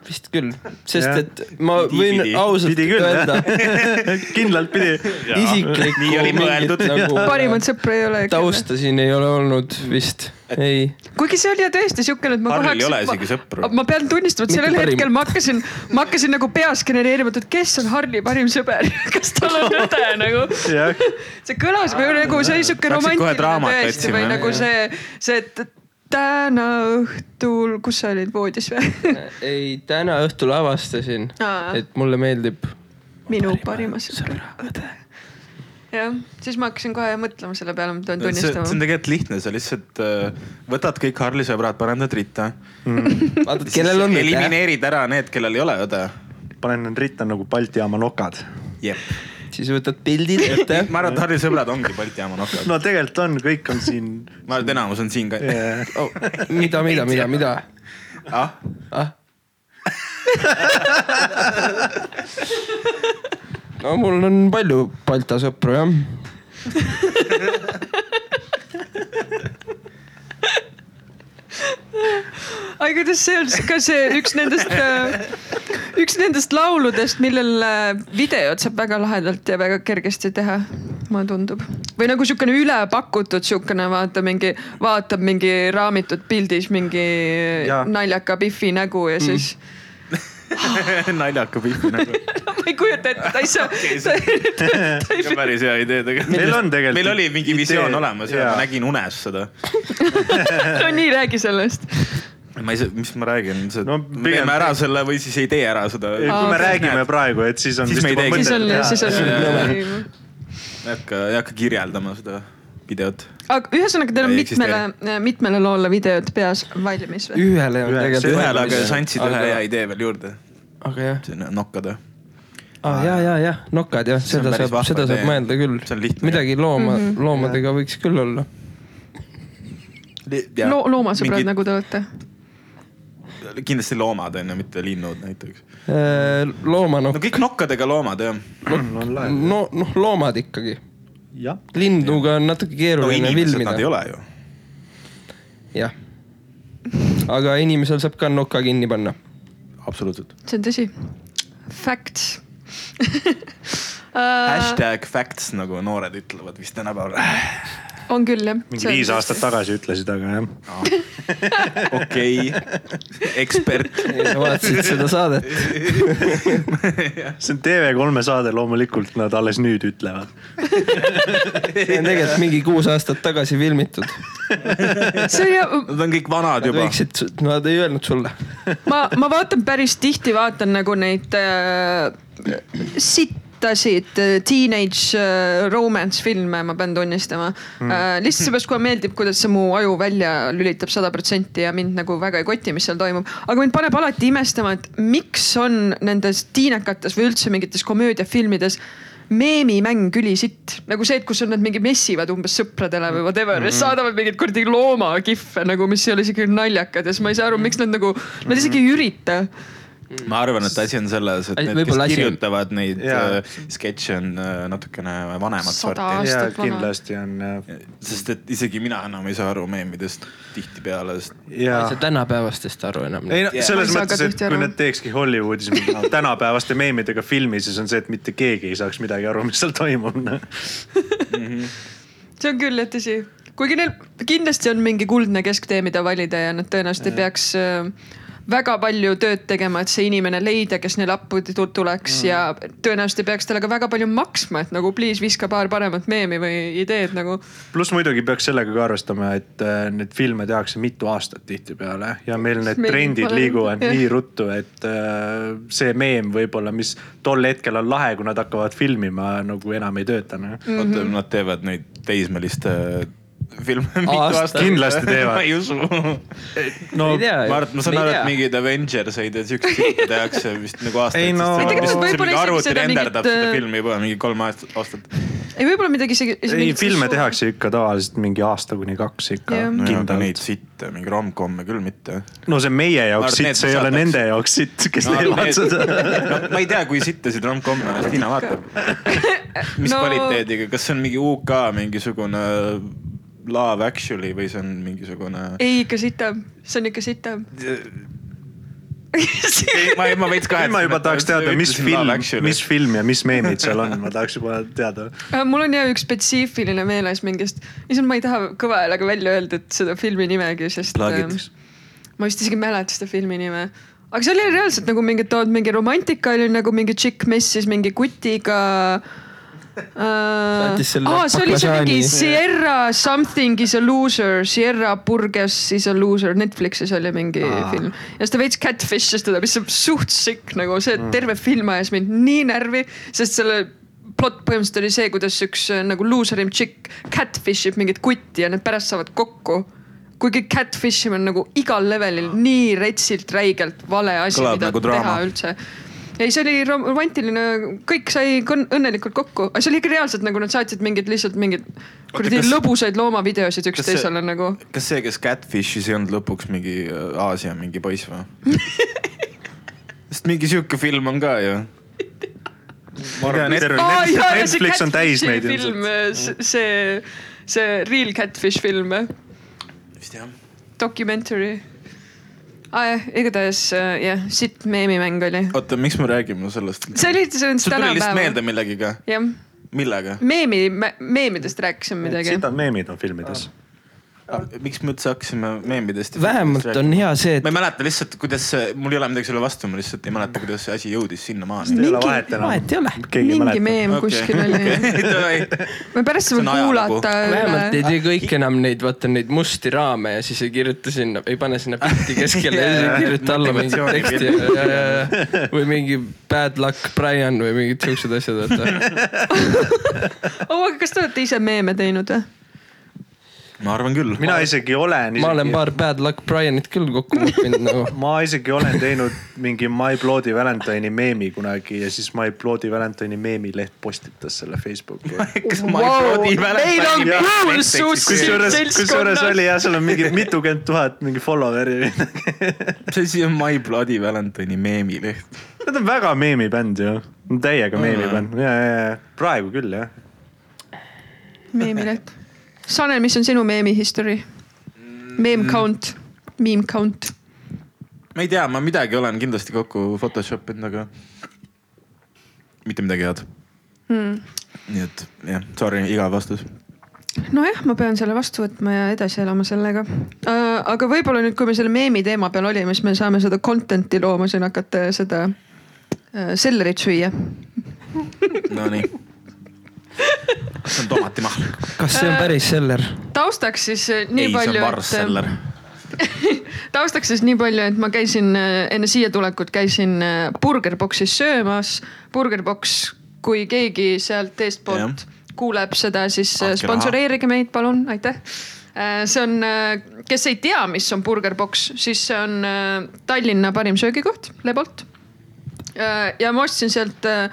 vist küll , sest Jah. et ma Pidi, võin pidi. ausalt pidi küll öelda jah , kindlalt pidi . isiklikku Nii oli mõeldud. mingit nagu parimat sõpra ei ole . tausta siin ei ole olnud vist , ei . kuigi see oli ja tõesti siukene , et ma Harril ei ole ma- isegi sõpru. ma pean tunnistama , et sellel Mitte parim. hetkel ma hakkasin , ma hakkasin nagu peas genereerima , et kes on Harli parim sõber , kas tal on õde nagu . jah , see kõlas , või nagu see oli siuke Läksid kohe romantiline draamat tõesti otsima, või jah, nagu jah. see , see , et täna õhtul , kus sa olid voodis või ? ei , täna õhtul avastasin , Aa. et mulle meeldib . minu parima sõbra õde . jah , siis ma hakkasin kohe mõtlema selle peale , ma pean see see on tunnistama . tegelikult lihtne , sa lihtsalt äh, võtad kõik Harli sõbrad , paned nad ritta . vaata , kellel on õde , elimineerid ära need , kellel ei ole õde . panen need ritta nagu Balti jaama nokad . jep . siis võtad pildid ette . ma arvan , et Harli sõbrad ongi Balti jaama nokad . no tegelikult on , kõik on siin . äh, ma arvan , et enamus on siin ka . Oh, mida , mida , mida , mida ? ah , ah ? no mul on palju Balta sõpru jah . aga kuidas see on , kas see üks nendest , üks nendest lauludest , millel äh, videot saab väga lahedalt ja väga kergesti teha , mulle tundub . või nagu siukene ülepakutud siukene , vaata mingi , vaatab mingi raamitud pildis mingi Jaa. naljaka Biffi nägu ja siis mm. naljaka pipi nagu . ma ei kujuta ette , ta ei saa , ta ei ka päris hea idee tegelikult . meil on tegelikult . meil oli mingi visioon olemas ja ma . nägin unes seda . no nii , räägi sellest . ma ei saa , mis ma räägin , see No no, , pigem- teeme ära selle või siis ei tee ära seda . kui Aa, me okei. räägime praegu , et siis on . Siis me ei teegi. siis on , siis on . ei hakka , ei hakka kirjeldama seda videot . aga ühesõnaga , teil on Ei eksisteeri. mitmele , mitmele loole videod peas valmis või ? ühele on Ühe- see tegelikult . ühele , aga sa andsid ühe hea . idee veel juurde , aga jah , sinna nokkade . ah, ja , ja , ja nokad jah , on seda päris saab vahva , seda saab idee. mõelda küll See on lihtne. . midagi looma mm , -hmm. loomadega võiks küll olla . loo- , loomasõbrad Mingid... . nagu te olete . kindlasti loomad on ju , mitte linnud näiteks . no Äh, loomanokk , kõik nokkadega loomad jah . no noh , loomad ikkagi . jah , linduga on natuke no keeruline no, inimesed filmida nad ei . ole ju . jah . aga inimesel saab ka noka kinni panna . absoluutselt . see on tõsi . Facts Äh. uh, . Hashtag facts nagu noored ütlevad vist tänapäeval . on küll jah . mingi viis aastat . tagasi ütlesid , aga jah . okei , ekspert . vaatasid seda saadet . see on TV3 saade , loomulikult nad alles nüüd ütlevad . see on tegelikult mingi kuus aastat tagasi filmitud . see on jah , Nad on kõik vanad Nad juba . võiksid , nad ei öelnud sulle . ma , ma vaatan päris tihti , vaatan nagu neid äh, sittasid äh, teenage äh, romance filme , ma pean tunnistama mm. äh, . lihtsalt seepärast , kui meeldib , kuidas see mu aju välja lülitab sada protsenti ja mind nagu väga ei koti , mis seal toimub . aga mind paneb alati imestama , et miks on nendes tiinekates või üldse mingites komöödiafilmides meemimäng ülisitt , nagu see , et kus on nad mingi messivad umbes sõpradele või whatever mm , -hmm. Mhm. saadavad mingeid kuradi loomakihve nagu , mis ei ole isegi naljakad ja siis ma ei saa aru , miks nad nagu , nad isegi ei ürita . ma arvan , et asi on selles , et Ai, need , kes võib-olla asi on- kirjutavad neid Jaa. äh, sketše on äh, natukene vanemat Sada sorti . aastat ja vana. kindlasti on jah. sest et isegi mina enam ei saa aru meemidest tihtipeale , sest ja sa . tänapäevastest aru enam nagu. ei no Yeah. selles Ma ei saa ka mõttes , et tihti aru. kui nad teekski Hollywoodis mingi no, tänapäevaste meemidega filmi , siis on see , et mitte keegi ei saaks midagi aru , mis seal toimub . noh. see on küll jah tõsi , kuigi neil kindlasti on mingi kuldne kesktee , mida valida ja nad tõenäoliselt ei peaks äh, väga palju tööd tegema , et see inimene leida , kes neile appi tu- tuleks ja Mhm. tõenäoliselt ei peaks talle ka väga palju maksma , et nagu please viska paar paremat meemi või ideed nagu pluss muidugi peaks sellega ka arvestama , et äh, neid filme tehakse mitu aastat tihtipeale ja meil need Meil trendid pole- liiguvad jah. nii ruttu , et äh, see meem võib-olla , mis tol hetkel on lahe , kui nad hakkavad filmima , nagu enam ei tööta noh . oota , Mhm. nad teevad neid teismeliste äh, filme mitu Aasta- aastat . Kindlasti teevad. ma ei usu . no Ei tea. ma arvan , ma saan Me ei aru , tea. et mingeid Avengerseid ja siukseid filme tehakse vist nagu aastaid . Ei no- Ma tegelikult võib-olla isegi seda renderdab mingit, seda äh, filmi juba mingi kolm aastat , aastat . ei , võib-olla midagi isegi . ei , filme . tehakse ikka tavaliselt mingi aasta kuni kaks ikka Jah. no ja aga neid kindlalt . sitte , mingi rom-com'e küll mitte . no see on meie Ma jaoks arvan, sitt , need see ei ole saadakse. nende jaoks sitt , kes teevad seda . no, . ma ei tea , kui sittasid rom-com'e on , las Tiina vaatab . mis No- no... kvaliteediga , kas see on mingi UK mingisugune Love Actually või see on mingisugune ? ei , ikka sitem , see on ikka sitem . ma , ma veits nüüd kahetsen . ma juba tahaks teada , mis film , mis film ja mis meemid seal on , ma tahaks juba teada . mul on ja üks spetsiifiline meeles mingist , issand , ma ei taha kõva häälega välja öelda , et seda filmi nimegi , sest . Plagid. ma vist isegi ei mäleta seda filmi nime . aga see oli reaalselt nagu mingi , tood mingi romantika oli nagu mingi tšikk messis mingi kutiga äh, . Saatis selle aa , see oli see mingi baklažaani. Sierra something is a loser , Sierra Burgess is a loser , Netflixis oli mingi aa. film . ja siis ta veits catfish'is teda , mis on suht sick nagu see Mm. terve film ajas mind nii närvi , sest selle plott põhimõtteliselt oli see , kuidas üks äh, nagu looserim tšikk catfish ib mingit kutti ja need pärast saavad kokku kuigi catfish imine on nagu igal levelil nii retsilt räigelt vale asi , Kõlab mida nagu nagu teha draama. üldse . ei , see oli rom- romantiline , kõik sai kon- õnnelikult kokku , aga see oli ikka reaalselt nagu nad saatsid mingeid lihtsalt mingeid kuradi kas- lõbusaid loomavideosid kas see- üksteisele nagu . kas see , kes Catfish'is ei olnud lõpuks mingi äh, Aasia mingi poiss või ? sest mingi sihuke film on ka ju . aa jaa , ja see Netflix on täis Catfish'i neid film äh, ilmselt ., see , see Real Catfish film , vist jah . documentary . aa jah , igatahes äh, jah , sitt meemimäng oli . oota , miks me räägime sellest ? see oli , see on sul tuli lihtsalt meelde tänapäeval . millegagi ? jah , millega ? meemi , meemidest rääkisime midagi . sitt on meemid on filmides . Ah. Ah, miks me üldse hakkasime meemidest ? vähemalt on . hea see , et ma ei mäleta lihtsalt , kuidas see , mul ei ole midagi selle vastu , ma lihtsalt ei mäleta , kuidas see asi jõudis sinnamaani . ei ole mingi vahet enam. vahet ei ole . keegi ei mingi mäleta . meem okay. kuskil oli . me pärast See saame on ajalugu. kuulata vähemalt ei üle . tee kõik enam neid , vaata neid musti raame ja siis ei kirjuta sinna , ei pane sinna pilti keskele ja siis ei kirjuta alla mingit teksti ja , ja , ja , ja või mingi bad luck Brian või mingid siuksed asjad , vaata . oo , Oh, aga kas te olete ise meeme teinud või ? ma arvan küll . mina isegi olen . ma olen paar bad luck Brianit küll kokku võtnud nagu . ma isegi olen teinud mingi My Bloody Valentine'i meemi kunagi ja siis My Bloody Valentine'i meemi leht postitas selle Facebooki . kas ma ei proodi meil on mäletan ? kuulsus siin kusjuures , kusjuures seltskonnas . oli jah , seal on mingi mitukümmend tuhat mingi follower'i . see asi on My Bloody Valentine'i meemileht . Nad on väga meemibänd ju , täiega meemibänd , ja , ja , ja praegu küll jah . meemileht . Sanel , mis on sinu meemi history ? Mm. Meme count , meme count . ma ei tea , ma midagi olen kindlasti kokku Photoshop inud , aga mitte midagi head mm. . nii et jah , sorry , igav vastus . nojah , ma pean selle vastu võtma ja edasi elama sellega . aga võib-olla nüüd , kui me selle meemi teema peal olime , siis me saame seda content'i looma siin hakata ja seda äh, sellerit süüa . Nonii . see on tomatimahl . kas see on päris seller ? taustaks siis äh, ei , nii see on palju , Varseller . taustaks siis nii palju , et ma käisin äh, enne siia tulekut käisin äh, Burger Boxis söömas . Burger Box , kui keegi sealt eestpoolt Jah. kuuleb seda , siis äh, Andke raha. sponsoreerige meid , palun , aitäh . see on , kes ei tea , mis on Burger Box , siis see on äh, Tallinna parim söögikoht Lebolt . ja ma ostsin sealt äh,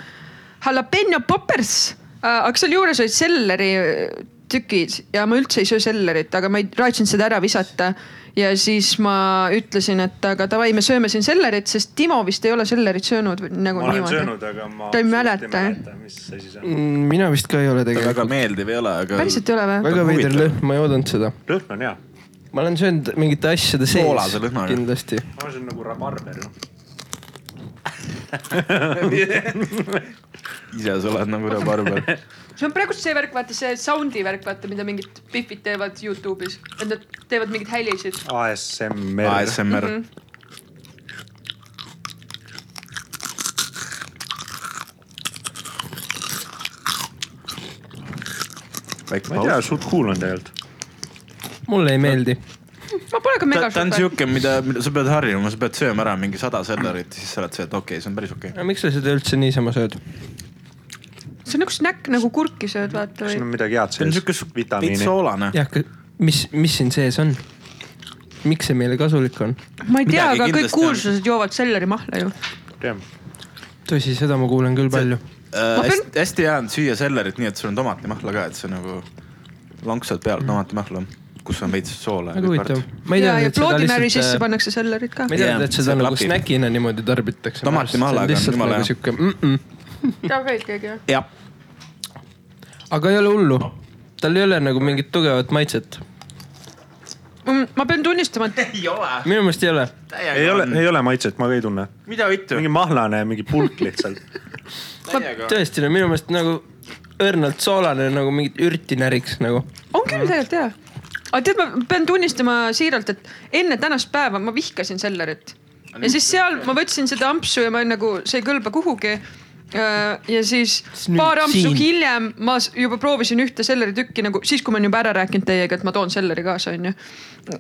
jalapeno poppers , aga seal juures olid selleri äh, tükid ja ma üldse ei söö sellerit , aga ma ei raatsinud seda ära visata . ja siis ma ütlesin , et aga davai , me sööme siin sellerit , sest Timo vist ei ole sellerit söönud või- nagu ma olen niimoodi . söönud , aga ma . ta ei mäleta , mis asi see on . Mm, mina vist ka ei ole talle väga tegelikult . meeldiv ei ole , aga . päriselt ei ole või ? väga veider lõhn , ma ei oodanud seda . lõhn on hea , ma olen söönud mingite asjade sees Soolase lõhnaga. kindlasti . ma söön nagu rabarber . ise sa oled nagu rabarber . see on praegust see värk , vaata see sound'i värk , vaata mida mingid Biffid teevad Youtube'is , et nad teevad mingeid hälisid . ASMR . ASMR . Mhm. väike ma ei tea paus ., suht cool on tegelikult . mulle ei meeldi . ma pole ka ta mega ta on . siuke , mida mida sa pead harjuma , sa pead sööma ära mingi sada sellerit , siis sa oled see , et okei okay, , see on päris okei okay. . aga miks sa seda üldse niisama sööd ? see on üks snäkk nagu kurki sööd , vaata siin on või . midagi head see on sees siuke , veits vitamiini . soolane . jah , mis , mis siin sees on ? miks see meile kasulik on ? ma ei tea , aga midagi kõik kindlasti on. kuulsused joovad sellerimahla ju . jah , tõsi , seda ma kuulen küll palju . äh, pean- hästi, hästi hea on süüa sellerit nii , et sul on tomatimahla ka , et see nagu lonksad peal tomatimahla , kus on veits soola . Mm. väga huvitav . ma ei ja , ja teadnud , et seda ploodimäri sisse lihtsalt , äh, pannakse sellerit ka ma . ei teadnud , Jaa, et seda see nagu klapib. snäkina niimoodi tarbitakse . Tomatimahlaga on lihtsalt jumala nagu hea. sihuke mm-mm teab veel keegi või ? jah , aga ei ole hullu . tal ei ole nagu mingit tugevat maitset . Mm, ma pean tunnistama , et ei ole , minu meelest ei ole . ei täiega ole , on . ei ole maitset , ma ka ei tunne . mida vittu , mingi mahlane , mingi pulk lihtsalt . täiega . tõesti , no minu meelest nagu õrnalt soolane nagu mingit ürti näriks nagu . on küll tegelikult hea . aga tead , ma pean tunnistama siiralt , et enne tänast päeva ma vihkasin sellerit . ja siis seal ma võtsin seda ampsu ja ma olin nagu , see ei kõlba kuhugi . ja siis Siis nüüd paar ampsu siin. hiljem ma s- juba proovisin ühte selleritükki nagu siis , kui ma olin juba ära rääkinud teiega , et ma toon selleri kaasa , onju .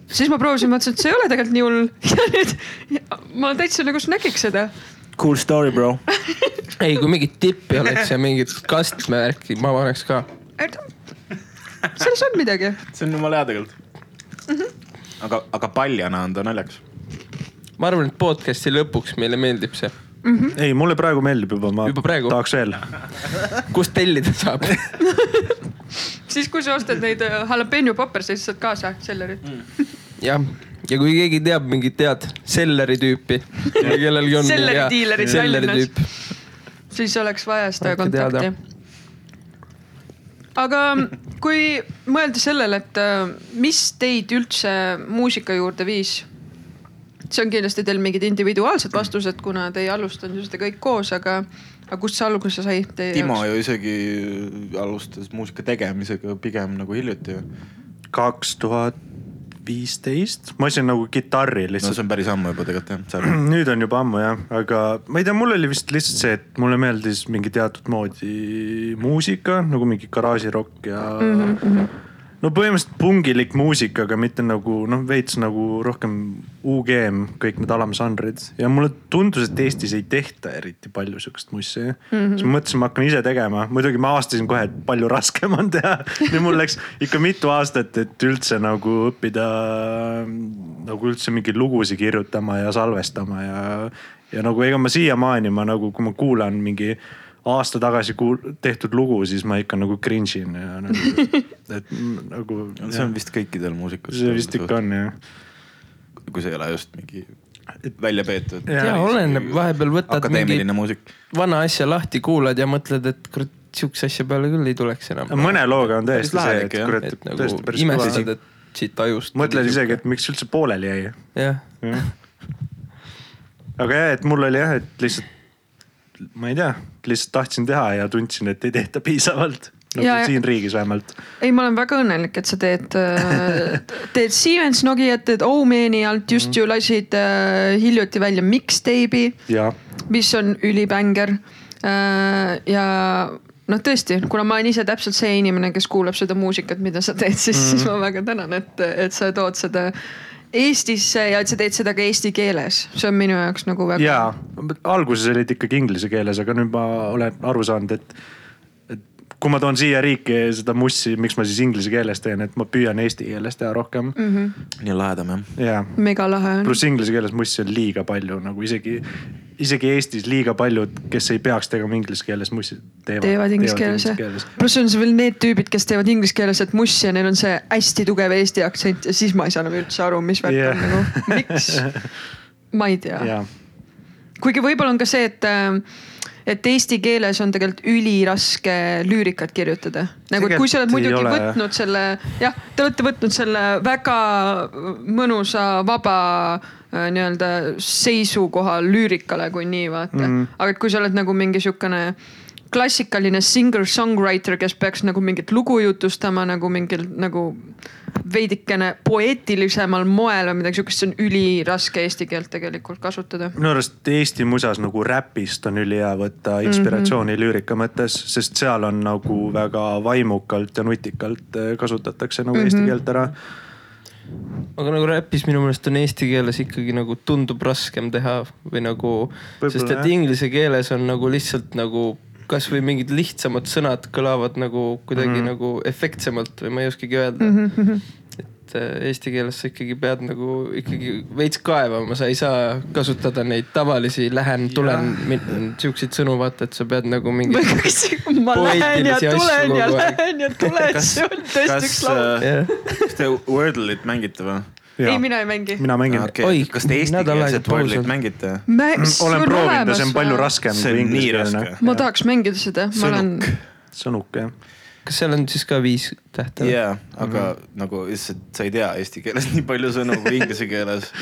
siis ma proovisin , mõtlesin , et see ei ole tegelikult nii hull . ja nüüd ma täitsa nagu snäkiks seda . Cool story , bro . ei , kui mingit tippi oleks ja mingit kastmevärki , ma paneks ka . selles on midagi . see on jumala hea tegelikult . Mhm. aga , aga paljana on ta naljakas . ma arvan , et podcast'i lõpuks meile meeldib see . Mhm. ei , mulle praegu meeldib juba , ma Juba praegu? tahaks veel . kust tellida saab ? siis , kui sa ostad neid äh, jalapeno popperseid , siis saad kaasa sellerit . jah , ja kui keegi teab mingit head selleri tüüpi . kellelgi on . Selleri diilerid selleri Tallinnas. tüüp . siis oleks vaja seda Andke teada. kontakti . aga mm, kui mõelda sellele , et äh, mis teid üldse muusika juurde viis ? see on kindlasti teil mingid individuaalsed vastused , kuna te ei alustanud ju seda kõik koos , aga , aga kust see alguse sai teie Timo jaoks ? ju isegi alustas muusika tegemisega pigem nagu hiljuti ju . kaks tuhat viisteist , ma ostsin nagu kitarri no lihtsalt Mm, see on päris ammu juba tegelikult jah . nüüd on juba ammu jah , aga ma ei tea , mul oli vist lihtsalt see , et mulle meeldis mingi teatud moodi muusika nagu mingi garaažirokk ja Mhm. mm . -hmm. no põhimõtteliselt pungilik muusika , aga mitte nagu noh , veits nagu rohkem UGM , kõik need alamžanrid ja mulle tundus , et Eestis ei tehta eriti palju sihukest mussi mm . -hmm. siis ma mõtlesin , ma hakkan ise tegema , muidugi ma avastasin kohe , et palju raskem on teha ja mul läks ikka mitu aastat , et üldse nagu õppida nagu üldse mingeid lugusid kirjutama ja salvestama ja , ja nagu ega ma siiamaani ma nagu , kui ma kuulan mingi aasta tagasi kuul- , tehtud lugu , siis ma ikka nagu cringe in ja nagu , et m- nagu . see on vist kõikidel muusikutel . see vist ikka on jah . kui see ei ole just mingi välja peetud . Jaa, jaa , oleneb , vahepeal võtad mingi akadeemiline muusik . vana asja lahti , kuulad ja mõtled , et kurat , sihukese asja peale küll ei tuleks enam . mõne looga on tõesti Päris lahe see , et ikka, jah. kurat et , nagu tõesti päris imestad , kõva . et siit ajust . mõtled isegi , et miks üldse pooleli jäi et . jah , Jah. aga jah , et mul oli jah , et lihtsalt , ma ei tea , lihtsalt tahtsin teha ja tundsin , et ei tehta piisavalt . nagu Ja, ja- siin riigis vähemalt . ei , ma olen väga õnnelik , et sa teed äh, , teed Siemens Nokiat , teed Omeni alt just ju lasid äh, hiljuti välja mixtape'i ja , mis on ülibänger . ja noh , tõesti , kuna ma olen ise täpselt see inimene , kes kuulab seda muusikat , mida sa teed , siis mm , -hmm. siis ma väga tänan , et , et sa tood seda Eestisse ja et sa teed seda ka eesti keeles , see on minu jaoks nagu väga . ja alguses olid ikkagi inglise keeles , aga nüüd ma olen aru saanud , et , et kui ma toon siia riiki seda mussi , miks ma siis inglise keeles teen , et ma püüan eesti keeles teha rohkem mm. nii lahedam jah . ja mega lahe on . pluss inglise keeles mussi on liiga palju nagu isegi , isegi Eestis liiga paljud , kes ei peaks tegema inglise keeles mussi , teevad . teevad inglise keeles jah , pluss on see veel need tüübid , kes teevad inglise keeles , et muss ja neil on see hästi tugev eesti aktsent ja siis ma ei saa enam üldse aru , mis värk Jah. on nagu , miks ? ma ei tea jah kuigi võib-olla on ka see , et , et eesti keeles on tegelikult üliraske lüürikat kirjutada . nagu , et kui sa oled Tegelikult ei muidugi ole, jah. võtnud selle , jah , te olete võtnud selle väga mõnusa , vaba äh, nii-öelda seisukoha lüürikale , kui nii vaata mm . -hmm. aga et kui sa oled nagu mingi sihukene klassikaline singer-songwriter , kes peaks nagu mingit lugu jutustama nagu mingil nagu veidikene poeetilisemal moel või midagi sihukest , see on üliraske eesti keelt tegelikult kasutada . minu arust Eesti musas nagu räpist on ülihea võtta inspiratsiooni mm Mhm. -hmm. lüürika mõttes , sest seal on nagu väga vaimukalt ja nutikalt eh, kasutatakse nagu mm Mhm. -hmm. eesti keelt ära . aga nagu räpis minu meelest on eesti keeles ikkagi nagu tundub raskem teha või nagu , Võib-olla, sest et jah. inglise keeles on nagu lihtsalt nagu kasvõi mingid Mhm. lihtsamad sõnad kõlavad nagu kuidagi mm -hmm. nagu efektsemalt või ma ei oskagi öelda mm . -hmm. et et eesti keeles sa ikkagi pead nagu ikkagi veits kaevama , sa ei saa kasutada neid tavalisi lähen , tulen , siukseid sõnu , vaata , et sa pead nagu mingi ma kas ma lähen ja Poeetilisi asju tulen ja kogu aeg. lähen ja tulen , see on tõesti üks laul . äh, Jah. äh, kas te Wordle'it mängite või ? ei , mina ei Äh, mängi . mina mängin . Okay. Oi, kas te nädal aega eestikeelset pausi Wordle'it olnud. mängite ? Mm, olen proovinud ja see on palju . raskem See kui on nii ingliskeelne raske. . äh, ma tahaks mängida seda , ma olen , sõnuk , sõnuk jah . kas seal on siis ka viis tähte ? jaa , aga Mhm. nagu lihtsalt sa ei tea eesti keeles nii palju sõnu kui inglise keeles .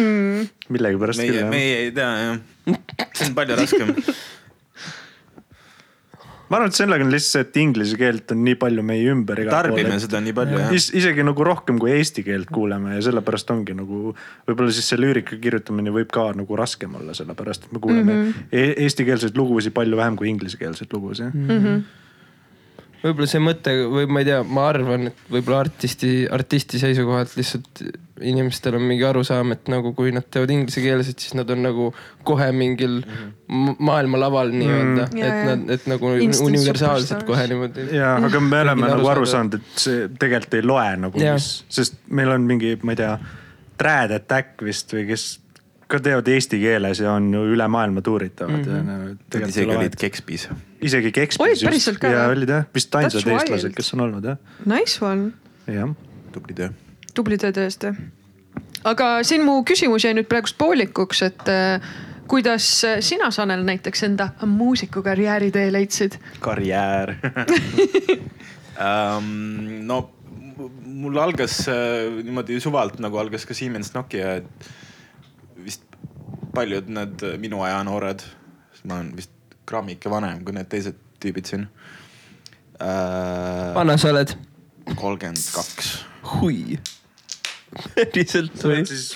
millegipärast küll meie , jah . meie ei tea jah . see on palju raskem . ma arvan , et sellega on lihtsalt see , et inglise keelt on nii palju meie ümber igal pool . tarbime seda nii palju jah . Is, isegi nagu rohkem kui eesti keelt kuuleme ja sellepärast ongi nagu võib-olla siis see lüürika kirjutamine võib ka nagu raskem olla , sellepärast et me kuuleme mm -hmm. e eestikeelseid lugusid palju vähem kui inglisekeelseid lugusid mm . -hmm. võib-olla see mõte või ma ei tea , ma arvan , et võib-olla artisti , artisti seisukohalt lihtsalt inimestel on mingi arusaam , et nagu kui nad teevad inglisekeelset , siis nad on nagu kohe mingil ma- maailmalaval nii-öelda mm. , Jaa, et jaa. nad , et nagu Instant universaalselt superstars. kohe niimoodi . ja aga me oleme Kõigil nagu aru arusaadav. saanud , et see tegelikult ei loe nagu Jah. mis , sest meil on mingi , ma ei tea , Trad Attack vist või kes ka teevad eesti keeles ja on ju üle maailma tuuritavad mm -hmm. ja no, isegi olid tegelikult kekspis . isegi Oi, Kekspis päriselt ka ja või? olid jah , vist ainsad That's wild. eestlased , kes on olnud jah , nice one , jah tubli töö . tubli töö tõesti . aga siin mu küsimus jäi nüüd praegust poolikuks , et äh, kuidas äh, sina , Sanel , näiteks enda muusikukarjääri tee leidsid ? karjäär um, . no mu- mul algas äh, niimoodi suvalt nagu algas ka Siemens Nokia , et vist paljud need äh, minu aja noored , sest ma olen vist grammike vanem kui need teised tüübid siin uh, . vana sa oled ? kolmkümmend kaks . hui . päriselt või ? siis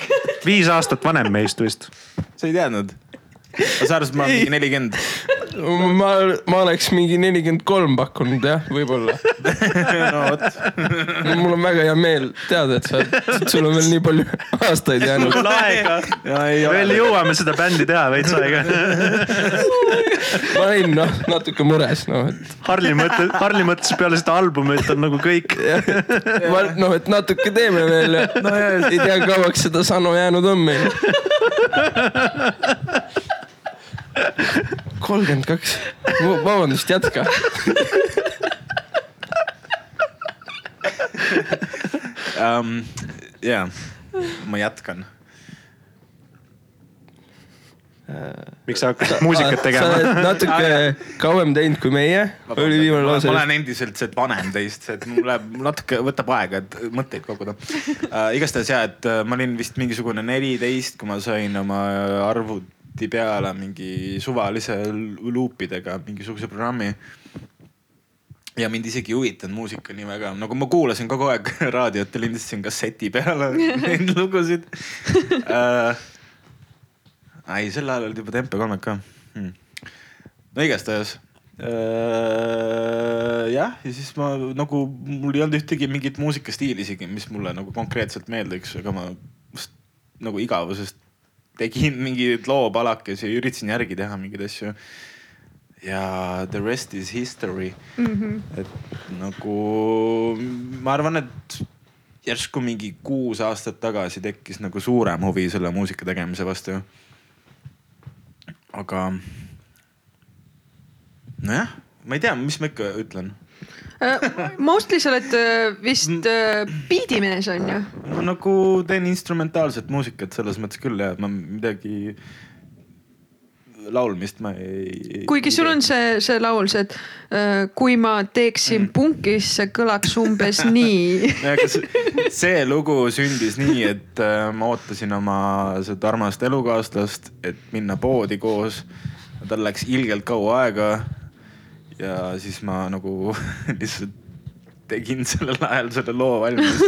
viis aastat vanem meist vist . sa ei teadnud ? sa arvasid , et ma olen mingi nelikümmend ? ma , ma oleks mingi nelikümmend kolm pakkunud jah , võib-olla . no vot . mul on väga hea meel teada , et sa , sul on veel nii palju aastaid jäänud . on aega , veel jõuame seda bändi teha veits aega . ma olin noh , natuke mures , noh et Harli mõtles , Harli mõtles peale seda albumit on nagu kõik . ma noh , et natuke teeme veel ja no, ei tea , kauaks seda Sano jäänud on meil . kolmkümmend kaks , vabandust , jätka . um, . jaa , ma jätkan . miks sa hakkasid muusikat sa tegema ? oled natuke kauem teinud kui meie , oli viimane lause Ah, ma . olen endiselt see vanem teist , et mul läheb mul natuke , võtab aega , et mõtteid koguda uh, . igastahes ja , et äh, ma olin vist mingisugune neliteist , kui ma sain oma arvuti peale mingi suvalise luupidega mingisuguse programmi ja mind isegi ei huvitanud muusika nii väga , nagu ma kuulasin kogu aeg raadiot ja lindistasin kasseti peale neid lugusid uh, . ei , sel ajal olid juba tempekolmed ka hmm. . no igastahes uh, . jah , ja siis ma nagu , mul ei olnud ühtegi mingit muusikastiili isegi , mis mulle nagu konkreetselt meeldiks , aga ma s- nagu igavusest tegin mingeid loopalakesi ja üritasin järgi teha mingeid asju ja the rest is history mm . -hmm. et nagu ma arvan , et järsku mingi kuus aastat tagasi tekkis nagu suurem huvi selle muusika tegemise vastu . aga nojah , ma ei tea , mis ma ikka ütlen . Äh, Mostly sa oled äh, Mm. vist äh, biidimees on ju ? ma nagu teen instrumentaalset muusikat selles mõttes küll ja ma midagi laulmist ma ei . kuigi sul on see , see laul , see , et äh, kui ma teeksin mm. punki , siis see kõlaks umbes nii . No aga see- see lugu sündis nii , et äh, ma ootasin oma seda armast elukaaslast , et minna poodi koos . tal läks ilgelt kaua aega . ja siis ma nagu lihtsalt tegin sellel ajal selle loo valmis .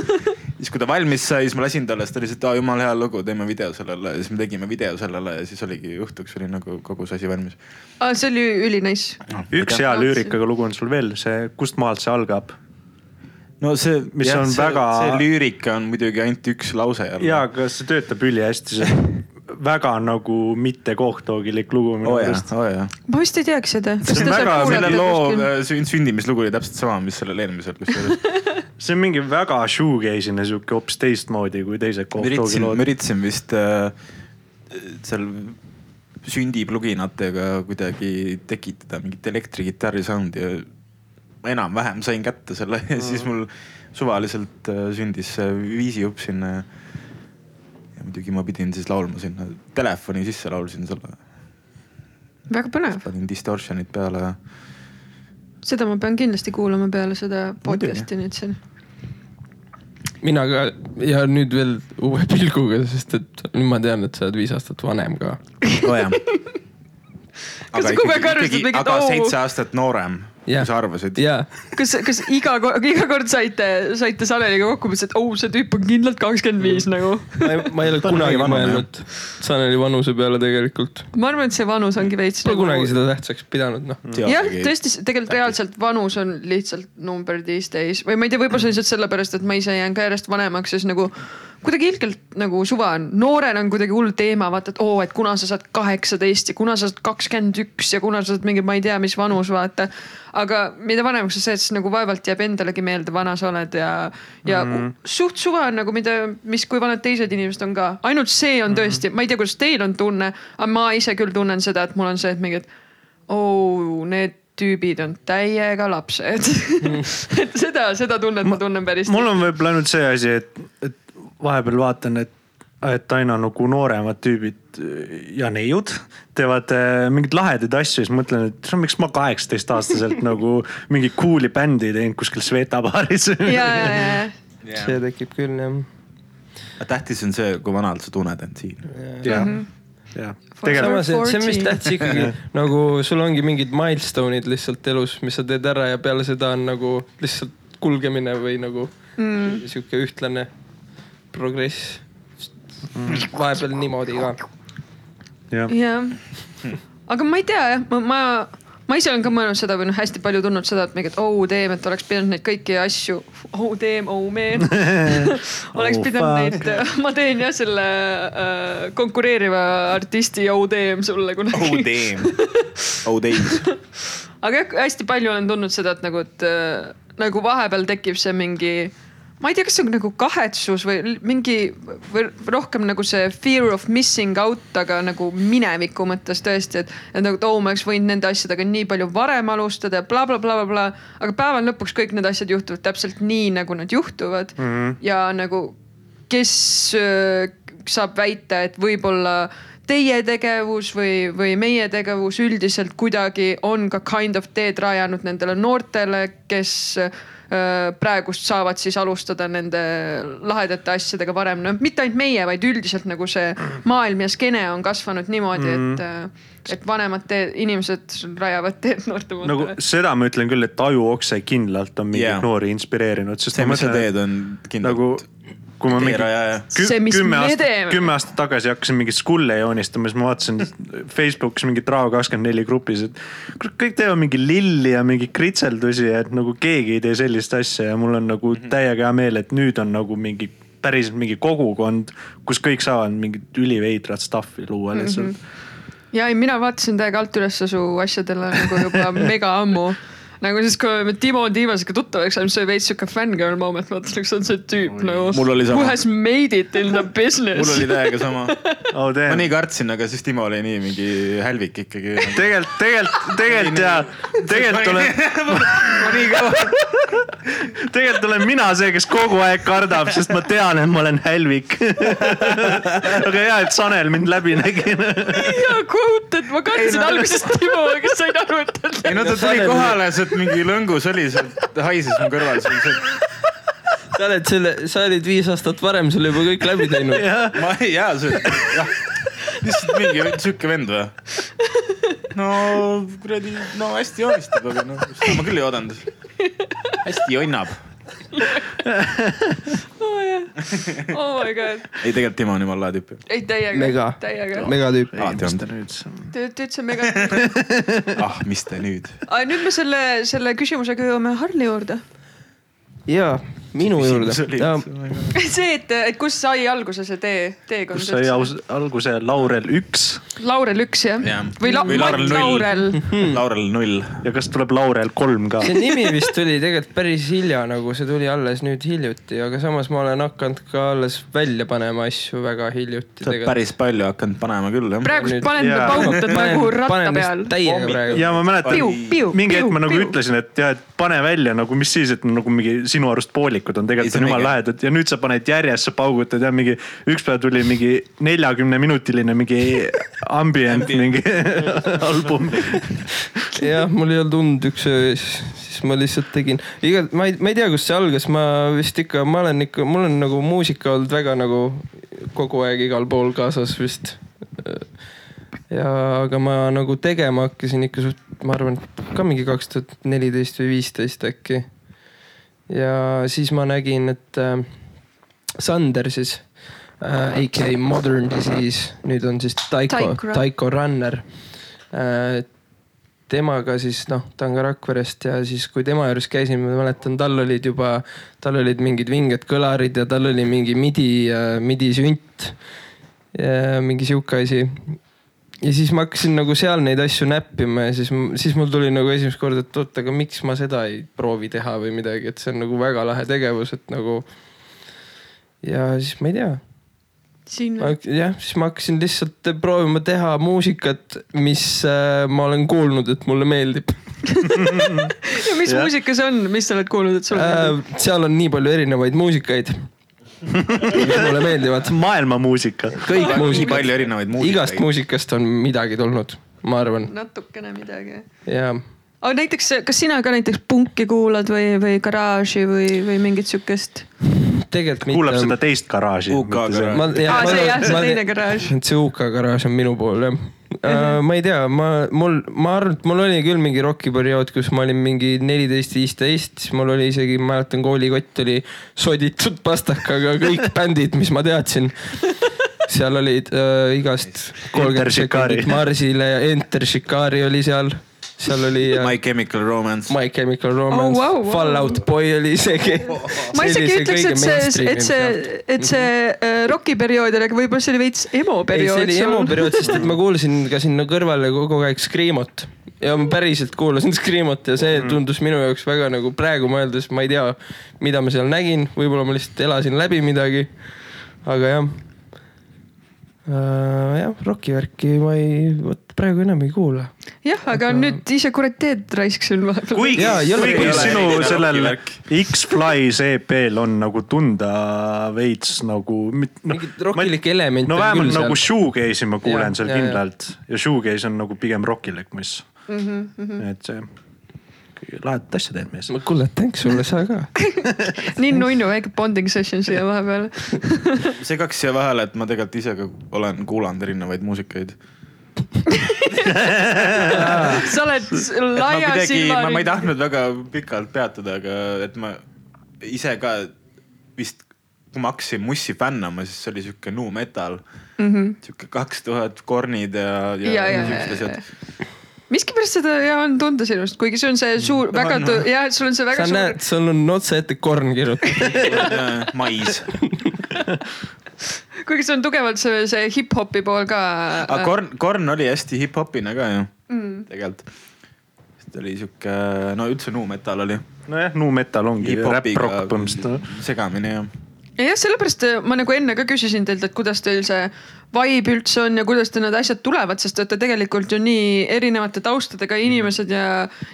siis , kui ta valmis sai , siis ma lasin talle , siis ta lihtsalt , aa jumala hea lugu , teeme video sellele ja siis me tegime video sellele ja siis oligi õhtuks oli nagu kogu see asi valmis . aa , Ah, see oli ülinais . üks hea lüürikaga lugu on sul veel , see Kust maalt see algab ? no see , Mis on see, väga- see lüürika on muidugi ainult üks lause . ja , aga see töötab ülihästi , see on väga nagu mitte kohtoogilik lugu minu oo Oh, jaa meelest ,. oo jaa ma vist ei teagi seda . see on väga- väga , äh, kuulata selle loo sünd- sündimislugu oli täpselt sama , mis sellel eelmisel , kusjuures see on mingi väga shoegaze'ine sihuke hoopis teistmoodi kui teised ma üritsin , ma kohtulood . üritasin vist äh, seal sündipluginatega kuidagi tekitada mingit elektrikitarri sound'i ja ma enam-vähem sain kätte selle ja siis mul suvaliselt äh, sündis see viisijupp sinna . ja muidugi ma pidin siis laulma sinna , telefoni sisse laulsin selle , väga põnev , panin distortion'id peale ja seda ma pean kindlasti kuulama peale seda podcast'i nüüd siin . mina ka ja nüüd veel uue pilguga , sest et nüüd ma tean , et sa oled viis aastat vanem ka . oh, . Kas sa kogu aeg arvasid mingit aga au? seitse aastat noorem , kui Jah. sa arvasid . ja , kas , kas iga , iga kord saite , saite Saneliga kokku , mõtlesite , et oh , see tüüp on kindlalt kakskümmend viis nagu . ma ei , ma ei ole Ta on kunagi kõige vanem, mõelnud Saneli vanuse peale tegelikult . ma arvan , et see vanus ongi veits . nagu Pole kunagi seda tähtsaks pidanud , noh . jah , tõesti , tegelikult reaalselt vanus on lihtsalt number these days või ma ei tea , võib-olla see on lihtsalt sellepärast , et ma ise jään ka järjest vanemaks , siis nagu kuidagi ilgelt nagu suva on , noorena on kuidagi hull teema , vaata , et oo , et kuna sa saad kaheksateist ja kuna sa saad kakskümmend üks ja kuna sa saad mingi , ma ei tea , mis vanus , vaata . aga mida vanemaks sa saad , siis nagu vaevalt jääb endalegi meelde , vana sa oled ja , ja mm -hmm. suht suva on nagu mida , mis , kui vanad teised inimesed on ka , ainult see on tõesti mm , -hmm. ma ei tea , kuidas teil on tunne , aga ma ise küll tunnen seda , et mul on see , et mingi , et oh , need tüübid on täiega lapsed . et seda , seda tunnet ma tunnen päris . Mm. mul on võib-olla ainult see asi , et , et vahepeal vaatan , et , et aina nagu nooremad tüübid äh, ja neiud teevad äh, mingeid lahedaid asju ja siis mõtlen , et miks ma kaheksateist aastaselt nagu mingi cool'i bändi ei teinud kuskil Sveta baaris . ja , ja , ja , see tekib küll jah . aga tähtis on see , kui vanalt sa tunned end siin . jah , jah , Forever. tegelikult samas , see on vist 40. tähtis ikkagi nagu sul ongi mingid milstoned lihtsalt elus , mis sa teed ära ja peale seda on nagu lihtsalt kulgemine või nagu mm. sihuke ühtlane progress . vahepeal niimoodi ka . jah , ja . aga ma ei tea jah , ma , ma , ma ise olen ka mõelnud seda või noh , hästi palju tundnud seda , et mingi , et oh damn , et oleks pidanud neid kõiki asju , oh damn , oh man . oleks Oh, pidanud fuck. neid , ma teen jah selle äh, konkureeriva artisti oh damn sulle kunagi oh . damn , oh days . aga jah , hästi palju olen tundnud seda , et nagu , et äh, nagu vahepeal tekib see mingi , ma ei tea , kas see on nagu kahetsus või l- mingi või rohkem nagu see fear of missing out , aga nagu mineviku mõttes tõesti , et . et nagu , et oo , ma oleks võinud nende asjadega nii palju varem alustada ja blablabla , bla, bla, bla, aga päeva lõpuks kõik need asjad juhtuvad täpselt nii , nagu nad juhtuvad mm . -hmm. ja nagu kes öö, saab väita , et võib-olla teie tegevus või , või meie tegevus üldiselt kuidagi on ka kind of teed rajanud nendele noortele , kes öö, praegust saavad siis alustada nende lahedate asjadega varem , no mitte ainult meie , vaid üldiselt nagu see maailm ja skeene on kasvanud niimoodi , et , et vanemad teed , inimesed rajavad teed noortematele nagu seda ma ütlen küll , et ajuokse kindlalt on mingeid Jaa. yeah. noori inspireerinud , sest see , ma mis sa mõtlen , et teed , on nagu kindlalt . kui ma mingi teerajaja. kü- See, mis kümme me aastat , teeme. kümme aastat tagasi hakkasin mingeid skulle joonistama , siis ma vaatasin Facebookis mingit Rao24 grupis , et kurat, kõik teevad mingi lilli ja mingeid kritseldusi , et nagu keegi ei tee sellist asja ja mul on nagu täiega hea meel , et nüüd on nagu mingi päriselt mingi kogukond , kus kõik saavad mingit üliveidrat stuff'i luua Mhm. lihtsalt mm . -hmm. ja ei , mina vaatasin täiega alt ülesse su asjadele nagu juba mega ammu . nagu siis , kui me Timo Tiivasega tuttavaks saime , see oli veits siuke fangirl moment , mõtlesin , et see on see tüüp nagu . Mul oli sama. Who has made it in the mul business . oli täiega sama . Oh, ma damn. nii kartsin , aga siis Timo oli nii mingi hälvik ikkagi . tegelikult , tegelikult , tegelikult ja tegelikult olen , ma nii kõva . tegelikult olen mina see , kes kogu aeg kardab , sest ma tean , et ma olen hälvik . aga hea , et Sanel mind läbi nägi . hea quote , et ma kartsin Ei, no- alguses Timo , aga sain aru , et ta ei no ta tuli kohale , sealt mingi lõngus oli , sealt haises mu kõrval , siis et sa oled selle , sa olid viis aastat varem selle juba kõik läbi teinud . ma ei jää sealt , jah . lihtsalt mingi sihuke vend või ? no kuradi , no hästi joonistab , aga noh , seda ma küll ei oodanud . hästi jonnab . oh my god , ei , tegelikult Timo on jumala lahe tüüp ju . ei täiega Mega. , täiega . megatüüp . alati on . Te te ütlesite mega . ah , mis te nüüd . nüüd me selle , selle küsimusega jõuame Harli juurde . jaa , minu juurde . see , et , et kust sai alguse see tee , teekond kus sai aus- alguse Laurel üks Laurel üks jah ja. ? või, La või Laurel, Laurel. . Laurel null . ja kas tuleb Laurel kolm ka ? see nimi vist tuli tegelikult päris hilja , nagu see tuli alles nüüd hiljuti , aga samas ma olen hakanud ka alles välja panema asju väga hiljuti . sa oled päris palju hakanud panema küll jah . praegu Nüüd- paned jaa. yeah. , paugutad nagu ratta peal . täiega praegu . ja ma mäletan Piu, , piu, mingi hetk piu, ma nagu piu. ütlesin , et jah , et pane välja nagu , mis siis , et nagu mingi sinu arust poolikud on , Ei, tegelikult see on on jumala õige. lahedad ja nüüd sa paned järjest , sa paugutad ja mingi . üks päev tuli mingi neljakümne minutiline mingi ambient mingi album . jah , mul ei olnud und üks öö ees , siis ma lihtsalt tegin . iga , ma ei , ma ei tea , kust see algas , ma vist ikka , ma olen ikka , mul on nagu muusika olnud väga nagu kogu aeg igal pool kaasas vist . ja , aga ma nagu tegema hakkasin ikka suht , ma arvan , ka mingi kaks tuhat neliteist või viisteist äkki . ja siis ma nägin , et äh, Sander siis äh, , AKA Modern Disease , nüüd on siis Taiko , Taiko Run- Taiko Runner äh, temaga siis noh , ta on ka Rakverest ja siis , kui tema juures käisin , ma mäletan , tal olid juba , tal olid mingid vinged kõlarid ja tal oli mingi midi , midi sünt . mingi sihuke asi . ja siis ma hakkasin nagu seal neid asju näppima ja siis , siis mul tuli nagu esimest korda , et oot , aga miks ma seda ei proovi teha või midagi , et see on nagu väga lahe tegevus , et nagu . ja siis ma ei tea siin ma , jah , siis ma hakkasin lihtsalt proovima teha muusikat , mis äh, ma olen kuulnud , et mulle meeldib ja mis jah. muusika see on , nagu mis sa oled kuulnud , et sulle äh, meeldib ?. seal on nii palju erinevaid muusikaid , mis mulle meeldivad , maailmamuusika . kõik nii muusikad , palju erinevaid igast muusikaid . muusikast on midagi tulnud , ma arvan natukene midagi . ja aga näiteks , kas sina ka näiteks punki kuulad või , või garaaži või , või mingit siukest ? tegelikult kuulab seda mitte . teist garaaži . UK garaaž. ma- jah, aa , ma- see jah , see ma- teine garaaž . Mhm. et see UK garaaž on minu pool jah . ma ei tea , ma , mul , ma arvan , et mul oli küll mingi rokiperiood , kus ma olin mingi neliteist , viisteist , siis mul oli isegi , ma mäletan , koolikott oli soditud pastakaga , kõik bändid , mis ma teadsin . seal olid äh, igast kolmkümmend Shikari. sekundit Marsile ja Enter Shikari oli seal , seal oli äh, My Chemical Romance . My Chemical Romance Oh, oh, , wow, wow. wow, Fall Out Boy oli isegi . ma isegi ütleks , et see , et see , et see äh, roki periood oli , aga võib-olla see oli veits emo ei , periood see oli emo sul . periood , sest et ma kuulsin ka sinna kõrvale kogu aeg Screamot ja ma päriselt kuulasin Screamot ja see tundus minu jaoks väga nagu praegu mõeldes , ma ei tea , mida ma seal nägin , võib-olla ma lihtsalt elasin läbi midagi . aga jah uh, . jah , rokivärki ma ei , vot praegu enam ei kuula . jah , aga nüüd ise kurat teed raisksin vahepeal . kuigi Jaa, ei , ole- ei kuigi ole sinu eriline sellel rokivärk. X-Fly's EP-l on nagu tunda veits nagu . Mingit rokilik element no on vähemalt küll nagu shoegaze'i ma kuulen Jah, seal jah, jah. kindlalt ja shoegaze on nagu pigem rokilik , mis mm . -hmm. et see , lahedat asja teed mees . kuule , tänks sulle , sa ka . nii nunnu väike bonding session siia vahepeal . segaks siia vahele , et ma tegelikult ise ka olen kuulanud erinevaid muusikaid . sa oled ma laia kuidagi , ma, ma ei silma . tahtnud väga pikalt peatuda , aga et ma ise ka vist , kui ma hakkasin Mussi fännama , siis see oli sihuke nu metal mm -hmm. . sihuke kaks tuhat kornid ja , Ja, ja, ja, ja siuksed ja, ja. asjad . miskipärast seda ja on tunda sinust , kuigi see on see suur , väga on, , jah , sul on see sa väga suur näed , sul on otse ette korn kirjutatud . mais , kuigi see on tugevalt see , see hip-hopi pool ka . äh, aga korn , korn oli hästi hip-hopina ka ju mm. , tegelikult . see oli sihuke , no üldse nu metal oli . nojah , nu metal ongi räpp-rokk põhimõtteliselt . segamini jah . ja jah , sellepärast ma nagu enne ka küsisin teilt , et kuidas teil see vibe üldse on ja kuidas teil need asjad tulevad , sest te olete tegelikult ju nii erinevate taustadega inimesed ja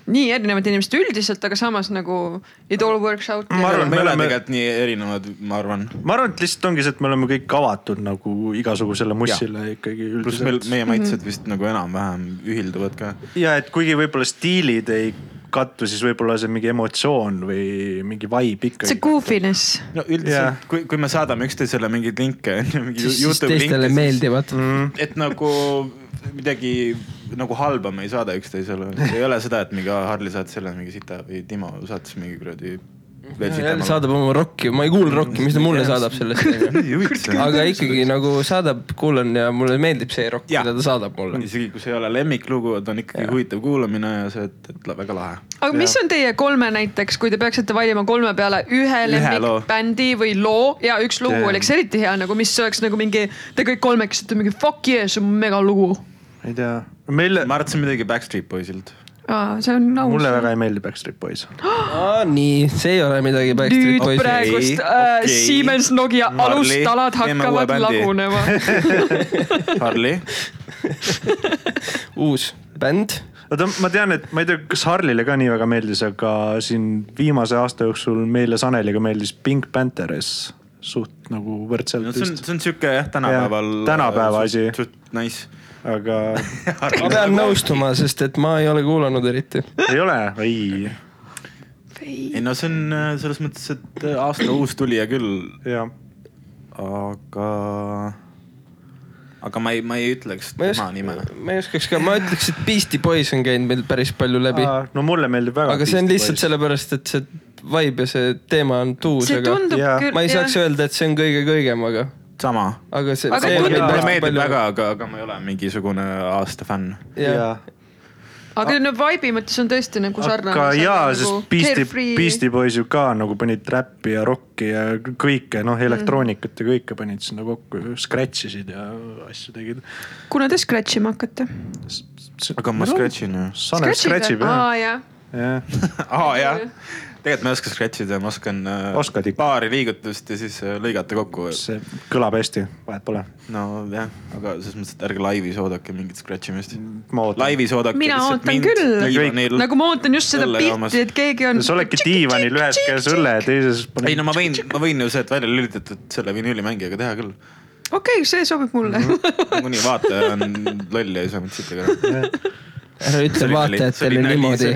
nii erinevad inimesed üldiselt , aga samas nagu it all works out . Ma arvan, me me ei ole oleme- tegelikult nii erinevad , ma arvan . ma arvan , et lihtsalt ongi see , et me oleme kõik avatud nagu igasugusele mussile ikkagi pluss meil , üldiselt . meie maitsed vist nagu enam-vähem ühilduvad ka ja et kuigi võib-olla stiilid ei kattu , siis võib-olla see mingi emotsioon või mingi vibe ikkagi . see goofiness . no üldiselt Jah. yeah. , kui , kui me saadame üksteisele mingeid linke , mingi siis siis Youtube'i teistele linke , meeldivad . siis et nagu midagi nagu halba me ei saada üksteisele , ei ole seda , et mingi aa, Harli saatis selle mingi sita või Timo saatis mingi kuradi jälle saadab oma rokki , ma ei kuula rokki , mis ta mulle saadab sellest . aga ikkagi nagu saadab , kuulan ja mulle meeldib see rokk , Jah. mida ta saadab mulle . isegi kui see ei ole lemmiklugu , ta on ikkagi huvitav kuulamine ja see , et , et la- väga lahe . aga mis on teie kolme näiteks , kui te peaksite valima kolme peale ühe loo. lemmikbändi või loo ja üks lugu Jaa. oleks eriti hea nagu , mis oleks nagu mingi , te kõik kolmekesi ütlete mingi fuck yeah , see on megalugu . ei tea , meile , ma arvasin midagi Backstreet Boysilt . see on aus . mulle väga ei meeldi Backstreet Boys . nii , see ei ole midagi Backstreet nüüd Boysi . praegust äh, okei. Siemens Nokia Marli, alustalad teeme uue hakkavad bändi. lagunema . Harli , uus bänd oota , ma tean , et ma ei tea , kas Harlile ka nii väga meeldis , aga siin viimase aasta jooksul meile Saneliga meeldis Pink Pantheres suht nagu võrdselt no no, see on , vist , see on sihuke jah , tänapäeval . tänapäeva asi. suht nice . aga ma pean nõustuma , sest et ma ei ole kuulanud eriti . ei ole , ei , ei no see on äh, selles mõttes , et äh, aasta uus tulija küll , jah . aga , aga ma ei , ma ei ütleks ma ei tema nime . oska , ma ei oskaks ka , ma ütleks , et Beastie Boys on käinud meil päris palju läbi . no mulle meeldib väga . aga see on lihtsalt . sellepärast , et see vibe ja see teema on tuus , see aga tundub Jaa. küll . ma ei saaks öelda , et see on kõige-kõigem , aga , sama . aga see . Aga tundub- mulle Hästi meeldib väga , aga , aga ma ei ole mingisugune aasta fänn . jaa , aga no vibe'i mõttes on tõesti nagu sarnane . nagu aga jaa , sest Beastie , Beastie Boys ju ka nagu panid räppi ja rokki ja kõike , noh Mm. elektroonikat ja kõike panid sinna kokku , scratch isid ja asju tegid . kuna te scratch ima hakkate ? aga ma . scratch in ju . Sanel scratch ib jah , aa jaa . jah . aa jah , tegelikult ma ei oska scratch ida , ma oskan äh, Oskad ikka. paari liigutust ja siis äh, lõigata kokku . see kõlab hästi , vahet pole . nojah , aga selles mõttes , et ärge laivis oodake mingit scratch imist . ma ootan . laivis oodake . Mina ootan küll. nagu ma ootan just seda õlle joomas. pilti , et keegi on . sa oledki diivanil ühes käes õlle ja teises ei paned no ma võin , ma võin ju sealt välja lülitatud selle vinüülimängijaga teha küll . okei , see sobib mulle . kuni Mhm. vaataja on loll ja ei saa mind siit ega . ära ütle vaatajatele niimoodi ,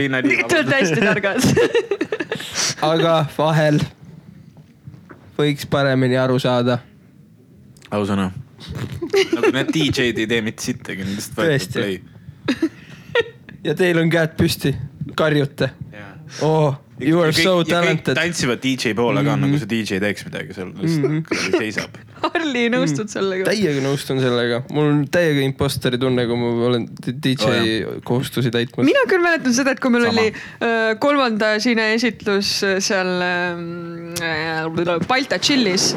Te olete hästi targad . aga vahel võiks paremini aru saada . ausõna . nagu need DJ-d ei tee mitte sittagi , nad lihtsalt Tõesti. vahetavad play . ja teil on käed püsti , karjute . oo , you are so talented . Mhm. tantsivad DJ poole ka , nagu see DJ teeks midagi seal , lihtsalt kuradi seisab . Harli , nõustud sellega ? täiega nostan sellega , mul on täiega impostori tunne , kui ma olen DJ Ojah. kohustusi täitmas . mina küll mäletan seda , et kui meil Sama. Sama. oli öö, kolmanda Siine esitlus öö, seal öö, Balta Chillis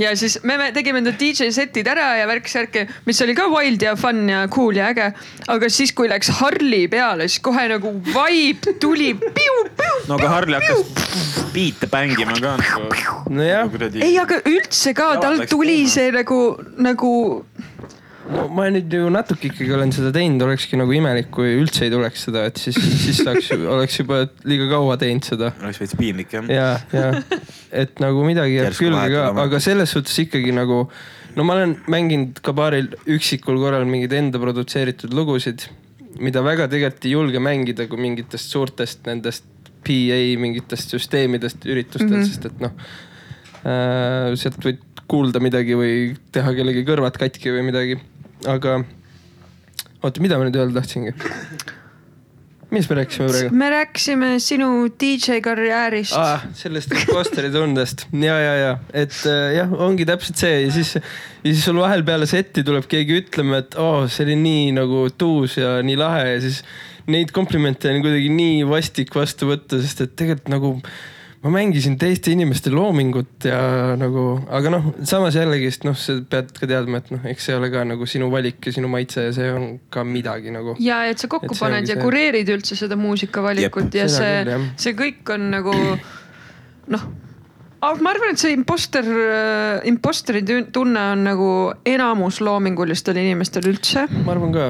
ja siis me me tegime enda DJ setid ära ja värk-särki , mis oli ka wild ja fun ja cool ja äge . aga siis , kui läks Harli peale , siis kohe nagu vibe tuli . no aga Harli hakkas biite bängima ka nagu . nojah , ei , aga üldse ka , Jaa, tal läks tuli kuuma. see nagu , nagu ma nüüd ju natuke ikkagi olen seda teinud , olekski nagu imelik , kui üldse ei tuleks seda , et siis , siis saaks , oleks juba liiga kaua teinud seda oleks veits piinlik jah . ja , ja et nagu midagi jääb Järsku külge ka vahetada , oma- aga selles suhtes ikkagi nagu no ma olen mänginud ka paaril üksikul korral mingeid enda produtseeritud lugusid , mida väga tegelikult ei julge mängida , kui mingitest suurtest nendest PA mingitest süsteemidest üritustel mm , -hmm. sest et noh äh, , sealt võid kuulda midagi või teha kellegi kõrvad katki või midagi , aga oota , mida ma nüüd öelda tahtsingi ? millest me rääkisime praegu ? me rääkisime sinu DJ karjäärist ah. . ah, . sellest impostori tundest ja , ja , ja et äh, jah , ongi täpselt see ja siis , ja siis sul vahel peale setti tuleb keegi ütlema , et oo oh, , see oli nii nagu tuus ja nii lahe ja siis neid komplimente on kuidagi nii vastik vastu võtta , sest et tegelikult nagu ma mängisin teiste inimeste loomingut ja nagu , aga noh , samas jällegist noh , sa pead ka teadma , et noh , eks see ole ka nagu sinu valik ja sinu maitse ja see on ka midagi nagu . ja et sa kokku Et see paned ongi ja see. kureerid üldse seda muusikavalikut ja Seda see küll, jah. , see kõik on nagu noh , ma arvan , et see imposter , imposteri tün- tunne on nagu enamus loomingulistel inimestel üldse . ma arvan ka ,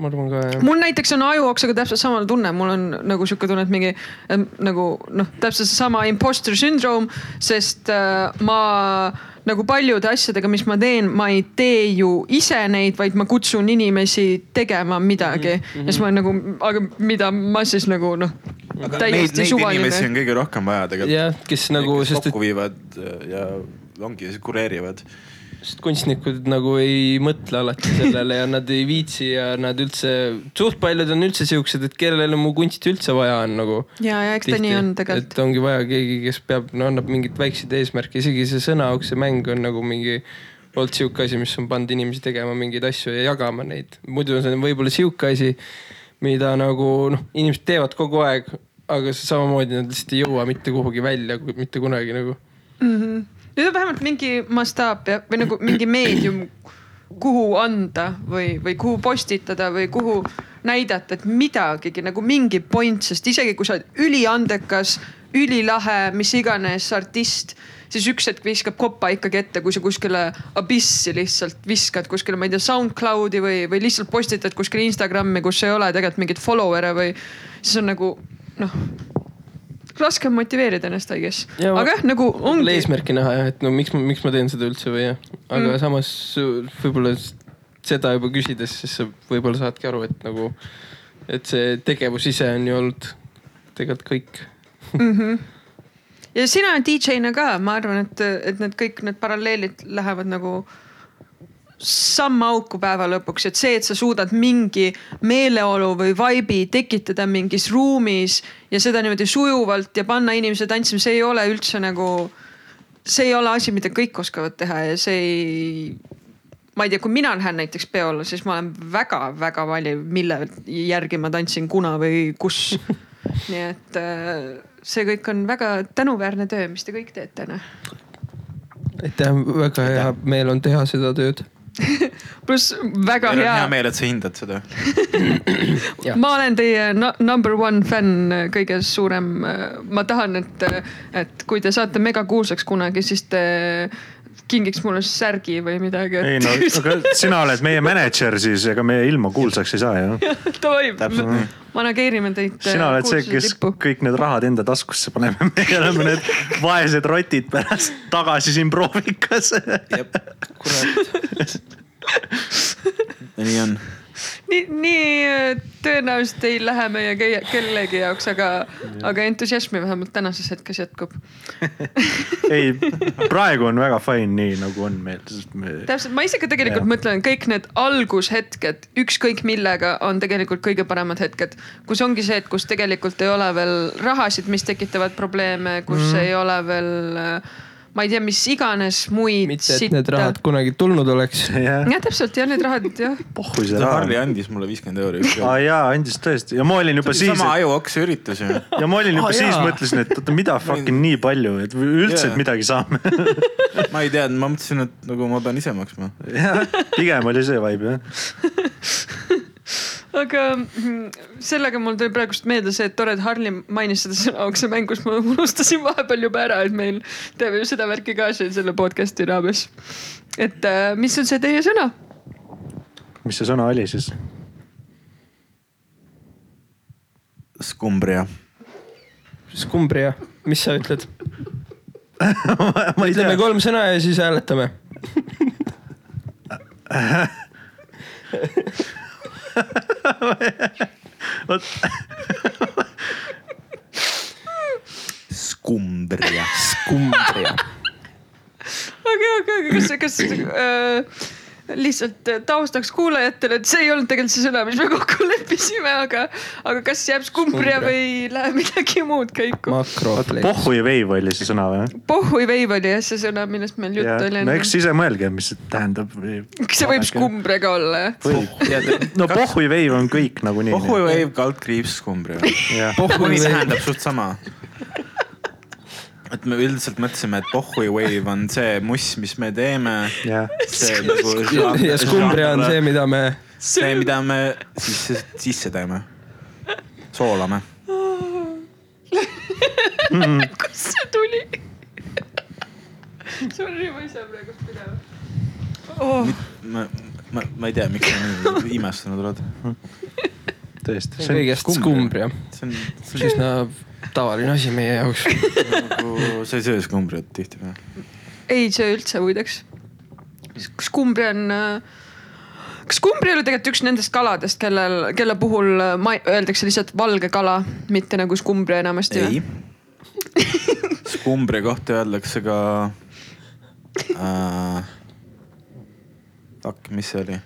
ma arvan ka jah . mul näiteks on ajuoksaga täpselt sama tunne , mul on nagu sihuke tunne , et mingi ähm, nagu noh , täpselt seesama imposter sündroom , sest äh, ma nagu paljude asjadega , mis ma teen , ma ei tee ju ise neid , vaid ma kutsun inimesi tegema midagi mm . -hmm. ja siis ma olen nagu , aga mida ma siis nagu noh , Neid, täiesti neid inimesi suvaline . on kõige rohkem vaja tegelikult . jah , kes nagu , kes sest et kokku viivad ja ongi , kureerivad . sest kunstnikud nagu ei mõtle alati sellele ja nad ei viitsi ja nad üldse , suht paljud on üldse siuksed , et kellele mu kunsti üldse vaja on nagu . ja , ja eks ta nii on tegelikult . et ongi vaja keegi , kes peab , no annab mingit väikseid eesmärke , isegi see sõnaukse mäng on nagu mingi olnud sihuke asi , mis on pannud inimesi tegema mingeid asju ja jagama neid . muidu see on võib-olla sihuke asi , mida nagu noh , inimesed teevad kogu aeg , aga see samamoodi nad lihtsalt ei jõua mitte kuhugi välja , mitte kunagi nagu . nüüd on vähemalt mingi mastaap ja , või nagu mingi meedium , kuhu anda või , või kuhu postitada või kuhu näidata , et midagigi nagu mingi point , sest isegi kui sa oled üliandekas , ülilahe , mis iganes artist , siis üks hetk viskab kopa ikkagi ette , kui sa kuskile abissi lihtsalt viskad kuskile , ma ei tea , SoundCloudi või , või lihtsalt postitad kuskile Instagrami , kus ei ole tegelikult mingeid follower'e või siis on nagu noh , raske on motiveerida ennast , I guess . Ja ma- aga jah , nagu võib-olla ongi . eesmärki näha jah , et no miks ma , miks ma teen seda üldse või jah , aga mm. samas võib-olla s- seda juba küsides , siis sa võib-olla saadki aru , et nagu , et see tegevus ise on ju olnud tegelikult kõik . ja sina DJ-na ka , ma arvan , et , et need kõik need paralleelid lähevad nagu samma auku päeva lõpuks , et see , et sa suudad mingi meeleolu või vibe'i tekitada mingis ruumis ja seda niimoodi sujuvalt ja panna inimesi tantsima , see ei ole üldse nagu , see ei ole asi , mida kõik oskavad teha ja see ei , ma ei tea , kui mina lähen näiteks peole , siis ma olen väga-väga valiv , mille järgi ma tantsin , kuna või kus . nii et äh, see kõik on väga tänuväärne töö , mis te kõik teete noh. täna . aitäh , väga hea meel on teha seda tööd . pluss väga meil on hea, hea meel , et sa hindad seda . jah. ma olen teie no- number one fänn , kõige suurem . ma tahan , et , et kui te saate megakuulsaks kunagi , siis te kingiks mulle särgi või midagi . ei no , aga sina oled meie mänedžer siis , ega me ilma kuulsaks ei saa ju . tohib Täpselt nii. , manageerime teid . äh, sina oled see , kes kõik need rahad enda taskusse paneb ja meie oleme need vaesed rotid pärast tagasi siin proovikas . kurat , nii on . nii , nii äh, tõenäoliselt ei lähe meie ke- kellegi jaoks , aga , aga entusiasmi vähemalt tänases hetkes jätkub . ei , praegu on väga fine nii nagu on meil , sest me . täpselt , ma ise ka tegelikult Jah. ja. mõtlen , kõik need algushetked , ükskõik millega , on tegelikult kõige paremad hetked . kus ongi see , et kus tegelikult ei ole veel rahasid , mis tekitavad probleeme , kus Mhm. mm. ei ole veel , ma ei tea , mis iganes muid . mitte et need rahad . kunagi tulnud oleks . jah , jah , täpselt ja need rahad jah , pohhu see Harli raha . andis mulle viiskümmend euri . aa jaa , andis tõesti ja ma olin juba siis , sama ajuokse üritus ju . ja ma olin juba Aa, siis jaa. mõtlesin , et oota , mida fucking Ah, nii palju , et üldse Jaa. et midagi saame . ma ei teadnud , ma mõtlesin , et nagu ma pean ise maksma . jah , pigem oli see vibe jah . aga mm, sellega mul tuli praegust meelde see , et tore , et Harli mainis seda sõna okse mängus , ma unustasin vahepeal juba ära , et meil teeme ju seda värki ka siin selle podcast'i raames . et äh, mis on see teie sõna ? mis see sõna oli siis ? skumbria . skumbria , mis sa ütled ? ma ei ütleme tea , kolm sõna ja siis hääletame . skumbria . skumbria . okei , okei , aga kas , kas äh, lihtsalt taustaks kuulajatele , et see ei olnud tegelikult see sõna , mis me kokku leppisime , aga , aga kas jääb Skumbria. skumbria või läheb midagi muud käiku ? oota makropleks . pohhu ja veib oli see sõna või ? pohhui veib oli jah see sõna , millest meil juttu Jah. oli nagu- no eks ise mõelge , mis see tähendab . kas see võib ? skumbria ka olla jah ? no pohhu ja veib on kõik nagunii . pohhu veeb kaldkriips skumbria . jah , pohhu Pohhui veib. tähendab suht sama . et me üldiselt mõtlesime , et pohhu wave on see muss , mis me teeme . jah . see nagu . ja skumbria on see , mida me see , mida me sisse , sisse teeme . soolame . kust see tuli ? Sorry , ma ei saa praegu pidama oh, . ma , ma , ma ei tea , miks sa nii imestunud oled . tõesti , see on kõigest skumbria, skumbria. , see on , see on üsna nagu tavaline asi meie jaoks . nagu , sa ei söö skumbrit tihtipeale . ei söö üldse muideks . kas kumbri on , kas kumbri oli tegelikult üks nendest kaladest , kellel , kelle puhul äh, ma, öeldakse lihtsalt valge kala , mitte nagu skumbri enamasti ? ei . skumbri kohta öeldakse ka äh, . Fuck , mis see oli ?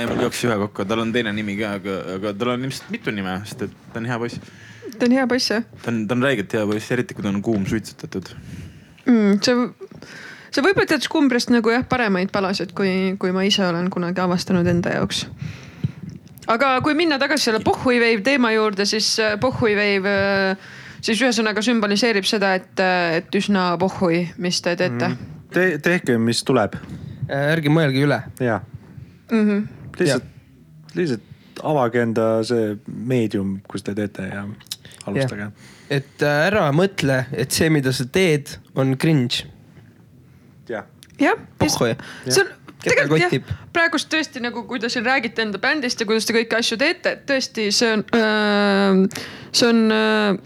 ei , mul jooksis ühe kokku , tal on teine nimi ka , aga , aga tal on ilmselt mitu nime , sest et ta on hea poiss . ta on hea poiss jah ta on , ta on räigelt hea poiss , eriti kui ta on kuum suitsetatud . mm, . sa , sa võib-olla tead skumbrist nagu jah , paremaid palasid , kui , kui ma ise olen kunagi avastanud enda jaoks . aga kui minna tagasi selle pohhui veib teema juurde , siis äh, pohhui veib , siis ühesõnaga sümboliseerib seda , et , et üsna pohhui , mis te teete mm. . Te, tehke , mis tuleb ärge mõelge üle . ja Mm -hmm. lihtsalt , lihtsalt avage enda see meedium , kus te teete ja alustage . et äh, ära mõtle , et see , mida sa teed , on cringe . jah , jah , Pohhu, jah. see on Keda tegelikult kotib? jah , praegust tõesti nagu , kui te siin räägite enda bändist ja kuidas te kõiki asju teete , et tõesti , see on äh, , see on äh,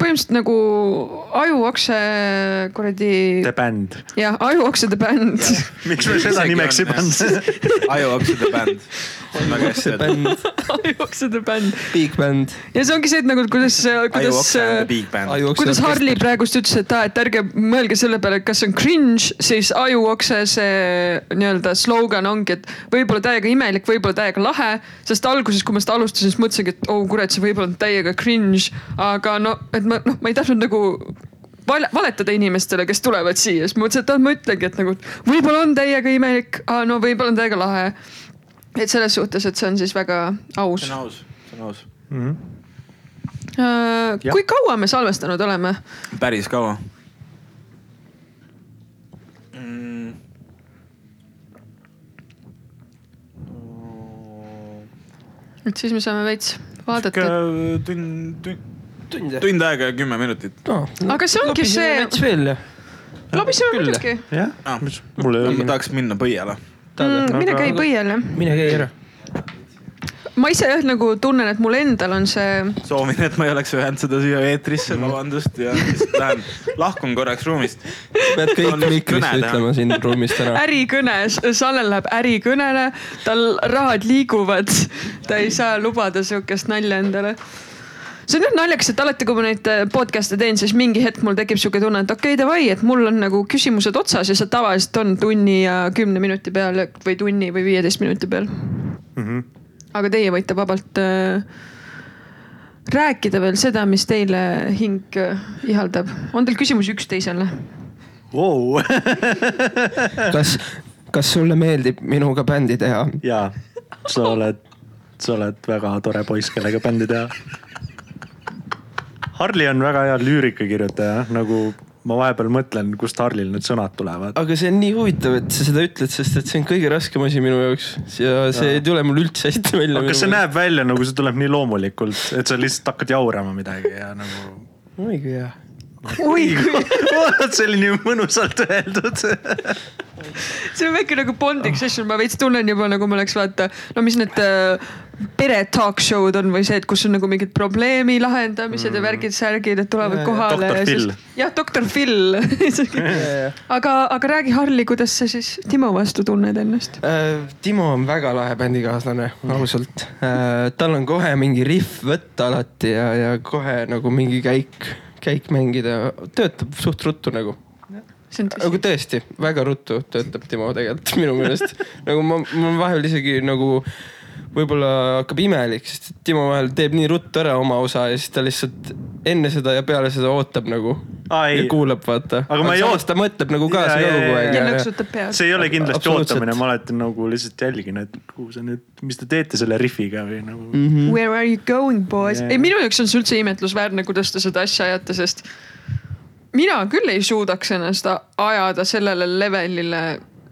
põhimõtteliselt nagu ajuokse kuradi , The Band . jah , ajuoksede bänd . miks me seda nimeks ei pannud ? Ajuakside bänd . väga hästi öeldud . bänd , ajuoksede bänd big bänd . ja see ongi see , et nagu kuidas , kuidas Ajuakse and the big band . kuidas Harli praegust ütles , et aa , et ärge mõelge selle peale , et kas see on cringe , siis ajuokse see nii-öelda slogan ongi , et võib-olla täiega imelik , võib-olla täiega lahe . sest alguses , kui ma seda alustasin , siis mõtlesingi , et oh kurat , see võib olla täiega cringe , aga no , et ma noh , ma ei tahtnud nagu val- valetada inimestele , kes tulevad siia , siis ma mõtlesin , et ah, ma ütlengi , et nagu võib-olla on täiega imelik , no võib-olla on täiega lahe . et selles suhtes , et see on siis väga aus see on . aus , see on aus . Jah. Äh, kui kaua me salvestanud oleme ? päris kaua mm. . et siis me saame veits vaadata . tund , tund , tund jah ? tund aega ja kümme minutit . Aga see ongi see- veel ju . lobiseme Küll. muidugi . jah Ah. , mul ei ma olnud . tahaks minna põiele . Mm, mine käi põiele . mine käi ära . ma ise jah nagu tunnen , et mul endal on see , soovin , et ma ei oleks ühendanud seda siia eetrisse , Mhm. vabandust ja siis lähen , lahkun korraks ruumist . pead kõik On just mikris kõne teha. ütlema siin ruumist ära . ärikõne , Sallel läheb ärikõnele , tal rahad liiguvad , ta ei saa lubada sihukest nalja endale see on jah naljakas , et alati , kui ma neid eh, podcast'e teen , siis mingi hetk mul tekib sihuke tunne , et okei okay, , davai , et mul on nagu küsimused otsas ja see tavaliselt on tunni ja kümne minuti peal või tunni või viieteist minuti peal mm . -hmm. aga teie võite vabalt äh, rääkida veel seda , mis teile hing äh, ihaldab . on teil küsimusi üksteisele ? Vau , kas , kas sulle meeldib minuga bändi teha ? jaa , sa oled , sa oled väga tore poiss , kellega bändi teha . Harli on väga hea lüürikakirjutaja , nagu ma vahepeal mõtlen , kust Harlil need sõnad tulevad . aga see on nii huvitav , et sa seda ütled , sest et see on kõige raskem asi minu jaoks ja see ei tule mul üldse hästi välja . aga kas see ? näeb välja nagu see tuleb nii loomulikult , et sa lihtsalt hakkad jaurama midagi ja nagu . oi kui hea . oi , vot see oli nii mõnusalt öeldud . see on väike nagu bonding session , ma veits tunnen juba nagu ma oleks vaata , no mis need äh, pere talk show'd on või see , et kus on nagu mingid probleemi lahendamised mm. ja värgid-särgid , et Ja, tulevad ja. kohale Dr. ja siis Phil. . jah , doktor Phil . aga , aga räägi Harli , kuidas sa siis Timo vastu tunned ennast ? Äh, Timo on väga lahe bändikaaslane , ausalt . tal on kohe mingi rihv võtta alati ja , ja kohe nagu mingi käik , käik mängida , töötab suht ruttu nagu . see on aga tõsi . tõesti , väga ruttu töötab Timo tegelikult minu meelest . nagu ma , ma vahel isegi nagu võib-olla hakkab imelik , sest et Timo vahel teeb nii ruttu ära oma osa ja siis ta lihtsalt enne seda ja peale seda ootab nagu . Aa, ei. ja kuulab , vaata . Aga ma ei samas oot- ta mõtleb nagu kaasa Jaa, jaa, kogu jaa, aeg . ja nõksutab pead . see ei ole kindlasti Absoluutselt. ootamine , ma alati nagu lihtsalt jälgin , et kuhu sa nüüd , mis te teete selle rifiga või nagu mm . Where are you going boys Jaa. Hmm. yeah. ? ei , minu jaoks on see üldse imetlusväärne , kuidas te seda asja ajate , sest mina küll ei suudaks ennast a- ajada sellele levelile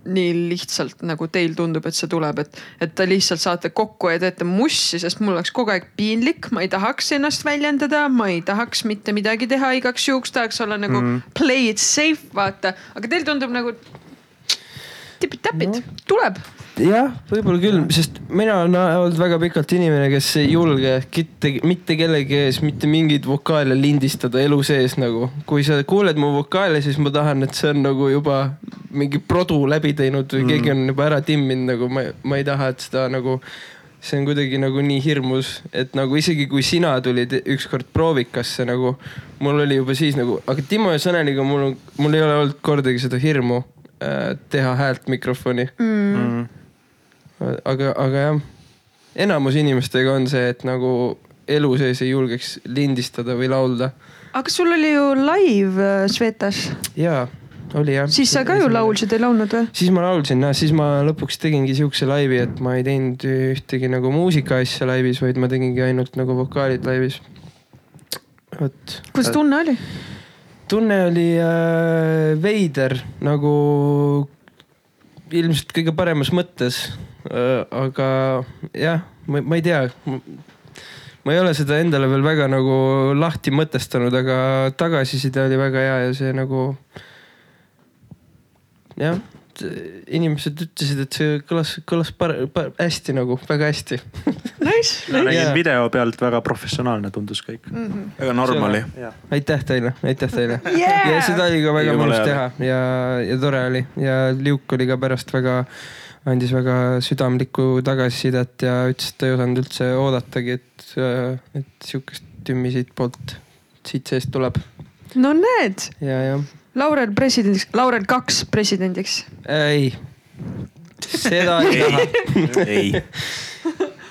nii lihtsalt , nagu teil tundub , et see tuleb , et , et te lihtsalt saate kokku ja teete mussi , sest mul oleks kogu aeg piinlik , ma ei tahaks ennast väljendada , ma ei tahaks mitte midagi teha igaks juhuks , tahaks olla nagu mm. play it safe , vaata , aga teil tundub nagu tipid-täpid no. , tuleb jah , võib-olla küll , sest mina olen olnud väga pikalt inimene , kes ei julge mitte , mitte kellegi ees mitte mingeid vokaale lindistada elu sees nagu . kui sa kuuled mu vokaale , siis ma tahan , et see on nagu juba Mm. mingi produ läbi teinud või keegi on juba ära timminud , nagu ma , ma ei taha , et seda nagu see on kuidagi nagu nii hirmus , et nagu isegi kui sina tulid ükskord proovikasse nagu , mul oli juba siis nagu , aga Timo ja Saneliga mul on , mul ei ole olnud kordagi seda hirmu äh, teha häält mikrofoni . Hmm. mm. . aga , aga jah , enamus inimestega on see , et nagu elu sees ei julgeks lindistada või laulda . aga sul oli ju live äh, Svetas , jaa , oli jah . siis sa ka ju . laulsid , ei laulnud või ? siis ma laulsin , noh , siis ma lõpuks tegingi siukse laivi , et ma ei teinud ühtegi nagu muusika asja laivis , vaid ma tegingi ainult nagu vokaalid laivis . vot . Äh. kuidas ? tunne oli ? tunne oli äh, veider nagu ilmselt kõige paremas mõttes äh, . aga jah , ma ma ei tea . ma ei ole seda endale veel väga nagu lahti mõtestanud , aga tagasiside oli väga hea ja see nagu . jah , inimesed ütlesid , et see kõlas , kõlas par-, par- , hästi nagu , väga hästi . Nice , ma Jaa. nägin video pealt väga professionaalne tundus kõik . väga normali . aitäh teile , aitäh teile Yeah! ja seda oli ka väga Jumala mõnus hea. teha ja , ja tore oli ja Liuk oli ka pärast väga , andis väga südamlikku tagasisidet ja ütles , et ta ei osanud üldse oodatagi , et , et sihukest tümmi siitpoolt , siit seest tuleb no näed , ja , ja Laurel presidendiks , Laurel kaks presidendiks . ei , seda ei taha . ei ,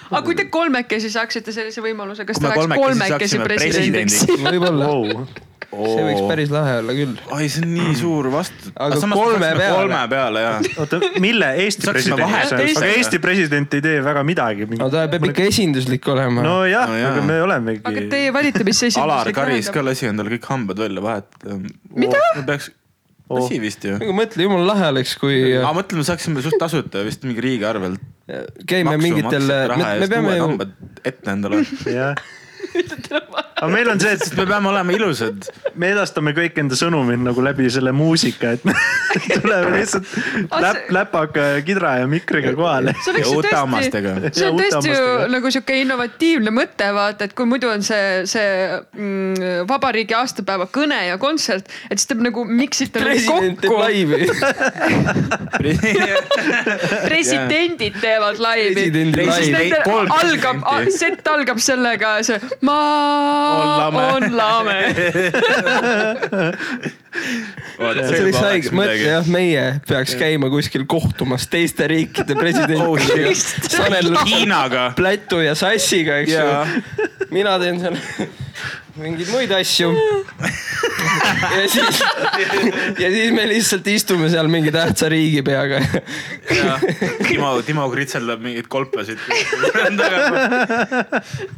aga kui te kolmekesi saaksite sellise võimaluse , kas Kui te me läheks kolmekesi kolmekesi saaksime presidendiks ? võib-olla Oh. wow. , Wow. see võiks päris lahe olla küll . ai , see on nii suur vastu . Aga kolme peale. kolme peale ja . oota , mille Eesti Saaksime president , vahetada aga seda. Eesti president ei tee väga midagi . no ta peab ikka esinduslik olema no. . nojah No no, , jaa. aga me olemegi . aga teie valite , mis see Alar esinduslik Karis ka tähendab ? lasi endale kõik hambad välja vahetada . Mida? ? peaks , Oh. lasi vist ju . aga mõtle , jumala lahe oleks , kui äh, aga mõtle , me saaksime suht tasuta vist mingi riigi arvelt . käime mingitel , me, me peame ju hambad ette endale , sest jah . aga meil on see , me peame olema ilusad . et me edastame kõik enda sõnumid nagu läbi selle muusika , et tuleb lihtsalt Ah, läp- see- , läpaka , kidra ja mikriga kohale . see oleks Ja ju uute hammastega. tõesti , see on Ja uute tõesti ju hammastega. nagu sihuke innovatiivne mõte , vaata , et kui muidu on see , see mm, vabariigi aastapäeva kõne ja kontsert , et siis te nagu miksite nagu president teeb kokku , laivi . presidendid teevad laivi . Presidendi siis laivi. nende Kolm algab presidenti. , sett algab sellega see ma lame. on lame . see oleks haige , mõtle jah , meie peaks käima kuskil kohtumas teiste riikide presidentidega shit. oh, . Sanel nagu Hiinaga . Plätu ja Sassiga , eks Jaa. ju . mina teen seal mingeid muid asju . ja siis , ja siis me lihtsalt istume seal mingi tähtsa riigipeaga . Timo , Timo kritseldab mingeid kolpasid .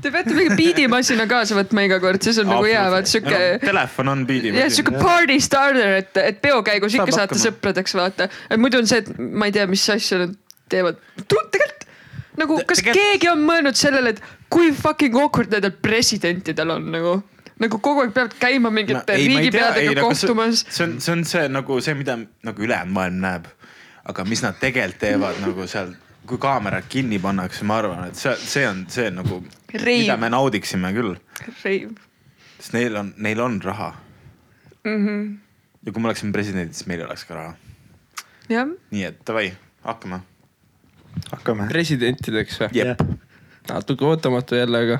Te peate mingi biidimasina kaasa võtma iga kord , siis on nagu hea , vaat sihuke . Telefon on biidi . jah , sihuke party starter , et , et peo käigus ikka Saab saate hakkama. sõpradeks vaata . muidu on see , et ma ei tea , mis asju nad teevad . tegelikult nagu , kas tegelikult- keegi on mõelnud sellele , et kui fucking awkward nendel presidentidel on nagu , nagu kogu aeg peavad käima mingite no, riigipeadega kohtumas . nagu see on , see on see nagu see , mida nagu ülejäänud maailm näeb . aga mis nad tegelikult teevad nagu seal , kui kaamerad kinni pannakse , ma arvan , et see , see on see nagu , Reiv. mida me naudiksime küll , Reiv , sest neil on , neil on raha mm . Mhm. -hmm. ja kui me oleksime presidendid , siis meil oleks ka raha . jah , nii et davai , hakkame . hakkame . presidentideks või ? jep , natuke ootamatu jälle , aga .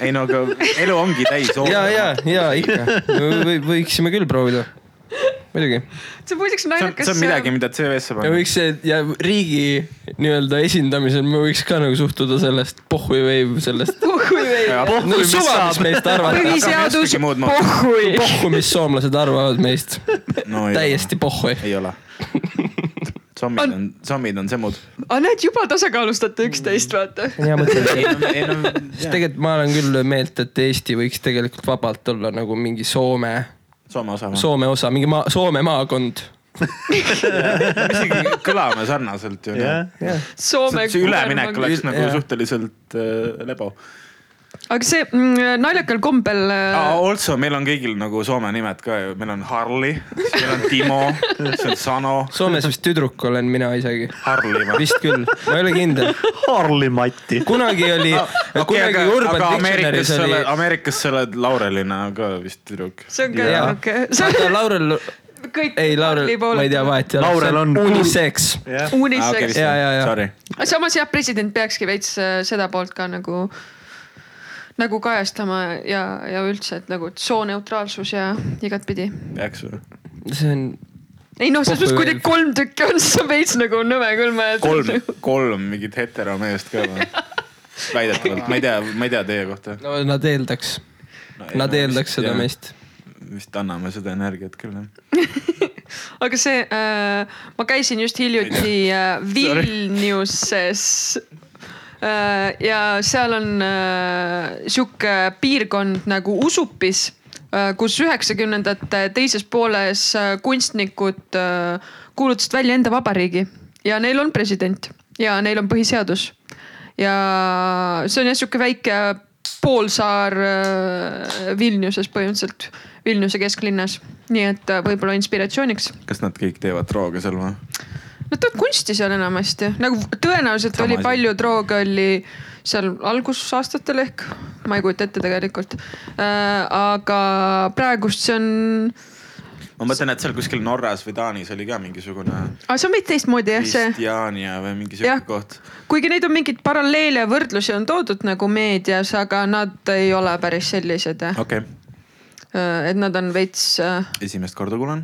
ei no aga elu ongi täis . ja , ja , ja ikka v . võiksime küll proovida . muidugi see on muideks see on , naljakas . see on midagi , mida CV-sse ja panna . võiks see ja riigi nii-öelda esindamisel me võiks ka nagu suhtuda sellest pohhui või sellest . nagu suva , mis meist arvavad . põhiseadus Hakkame muud moodi. pohhui . pohhu , mis soomlased arvavad meist . No, ei ole. täiesti pohhui . ei ole . zombid On- on, on , zombid on semud . aga näed , juba tasakaalustate üksteist , vaata . hea mõte . sest Soome tegelikult ma olen küll meelt , et Eesti võiks tegelikult vabalt olla nagu mingi Soome , osa . Soome osa , mingi maa , Soome maakond . isegi kõlame sarnaselt ju . jah , Soome . see üleminek oleks nagu Jah. suhteliselt äh, lebo . aga see mm, naljakal kombel äh, Also , meil on kõigil nagu Soome nimed ka ju , meil on Harli , meil on Timo , siis on Sano , Soomes vist tüdruk olen mina isegi . Harli või ? vist küll , ma ei ole kindel . Harli Mati . kunagi oli , kunagi Urban Dictionary's Ameerikas sa oli oled , Ameerikas sa oled Laurelina ka vist tüdruk . see on ka Jaa. niuke , see aga on , Laurel , kõik . ei , Laurel , ma ei tea , vahet ei ole . Laurel on kuul- unisex . jah , uniseks Jaa, jaa, jaa. Sorry , Aga samas jah , president peakski veits äh, seda poolt ka nagu , nagu kajastama ja , ja üldse , et nagu sooneutraalsus ja igatpidi . peaks või ? see on , ei noh , selles mõttes , kui teil kolm tükki on , siis on veits nagu nõme küll , ma kolm , kolm mingit heteromeest ka või ? väidetavalt , ma ei tea , ma ei tea teie kohta no nad eeldaks , no, . nad eeldaks seda . meist . vist anname seda energiat küll jah . aga see äh, , ma käisin just hiljuti äh, Vilniuses äh, . ja seal on äh, sihuke piirkond nagu Usupis äh, , kus üheksakümnendate teises pooles äh, kunstnikud äh, kuulutasid välja enda vabariigi ja neil on president ja neil on põhiseadus . ja see on jah sihuke väike poolsaar äh, Vilniuses põhimõtteliselt , Vilniuse kesklinnas , nii et äh, võib-olla inspiratsiooniks kas nad kõik teevad drooge seal või ? no ta kunsti seal enamasti , nagu tõenäoliselt Sama Sama oli asi. palju drooge oli seal algusaastatel ehk , ma ei kujuta ette tegelikult äh, . aga praegust see on , ma mõtlen , et seal kuskil Norras või Taanis oli ka mingisugune aga see on veidi teistmoodi jah , see , Kristjania või mingi Jah. siuke koht . kuigi neid on mingeid paralleele ja võrdlusi on toodud nagu meedias , aga nad ei ole päris sellised jah , okei okay. , et nad on veits äh, esimest korda kuulen .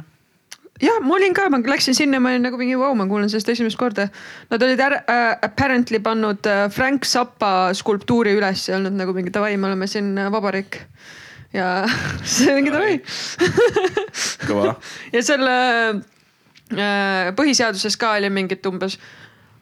ja ma olin ka , ma läksin sinna , ma olin nagu mingi vau wow, , ma kuulen sellest esimest korda . Nad olid ära, äh, apparently pannud äh, Frank Zappa skulptuuri üles ja olnud nagu mingi davai , me oleme siin äh, vabariik . ja see on mingi davai . kõva . ja selle äh, põhiseaduses ka oli mingit umbes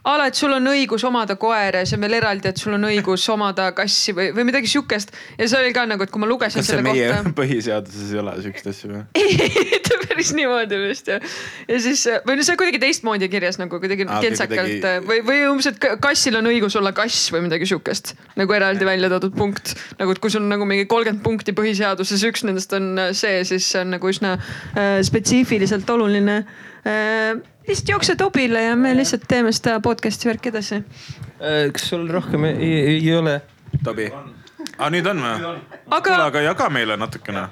a la , et sul on õigus omada koera ja see on veel eraldi , et sul on õigus omada kassi või , või midagi sihukest . ja see oli ka nagu , et kui ma lugesin kas see selle meie kohta kohta. põhiseaduses ei ole siukest asja või ? ei , ta päris niimoodi vist jah . ja siis , või no see on kuidagi teistmoodi kirjas nagu kuidagi Aa, okei, kentsakalt kuidagi- kuidagi... äh, või , või umbes , et ka- kassil on õigus olla kass või midagi siukest . nagu eraldi välja toodud punkt , nagu et kui sul on nagu mingi kolmkümmend punkti põhiseaduses , üks nendest on äh, see , siis see on nagu üsna äh, spetsiifiliselt oluline äh, . lihtsalt jookse tobile ja me lihtsalt teeme seda podcast'i värki edasi . Äh, kas sul rohkem ei, ei, ei ole ? Tobi ah, . nüüd on või ? aga kuule , aga jaga meile natukene .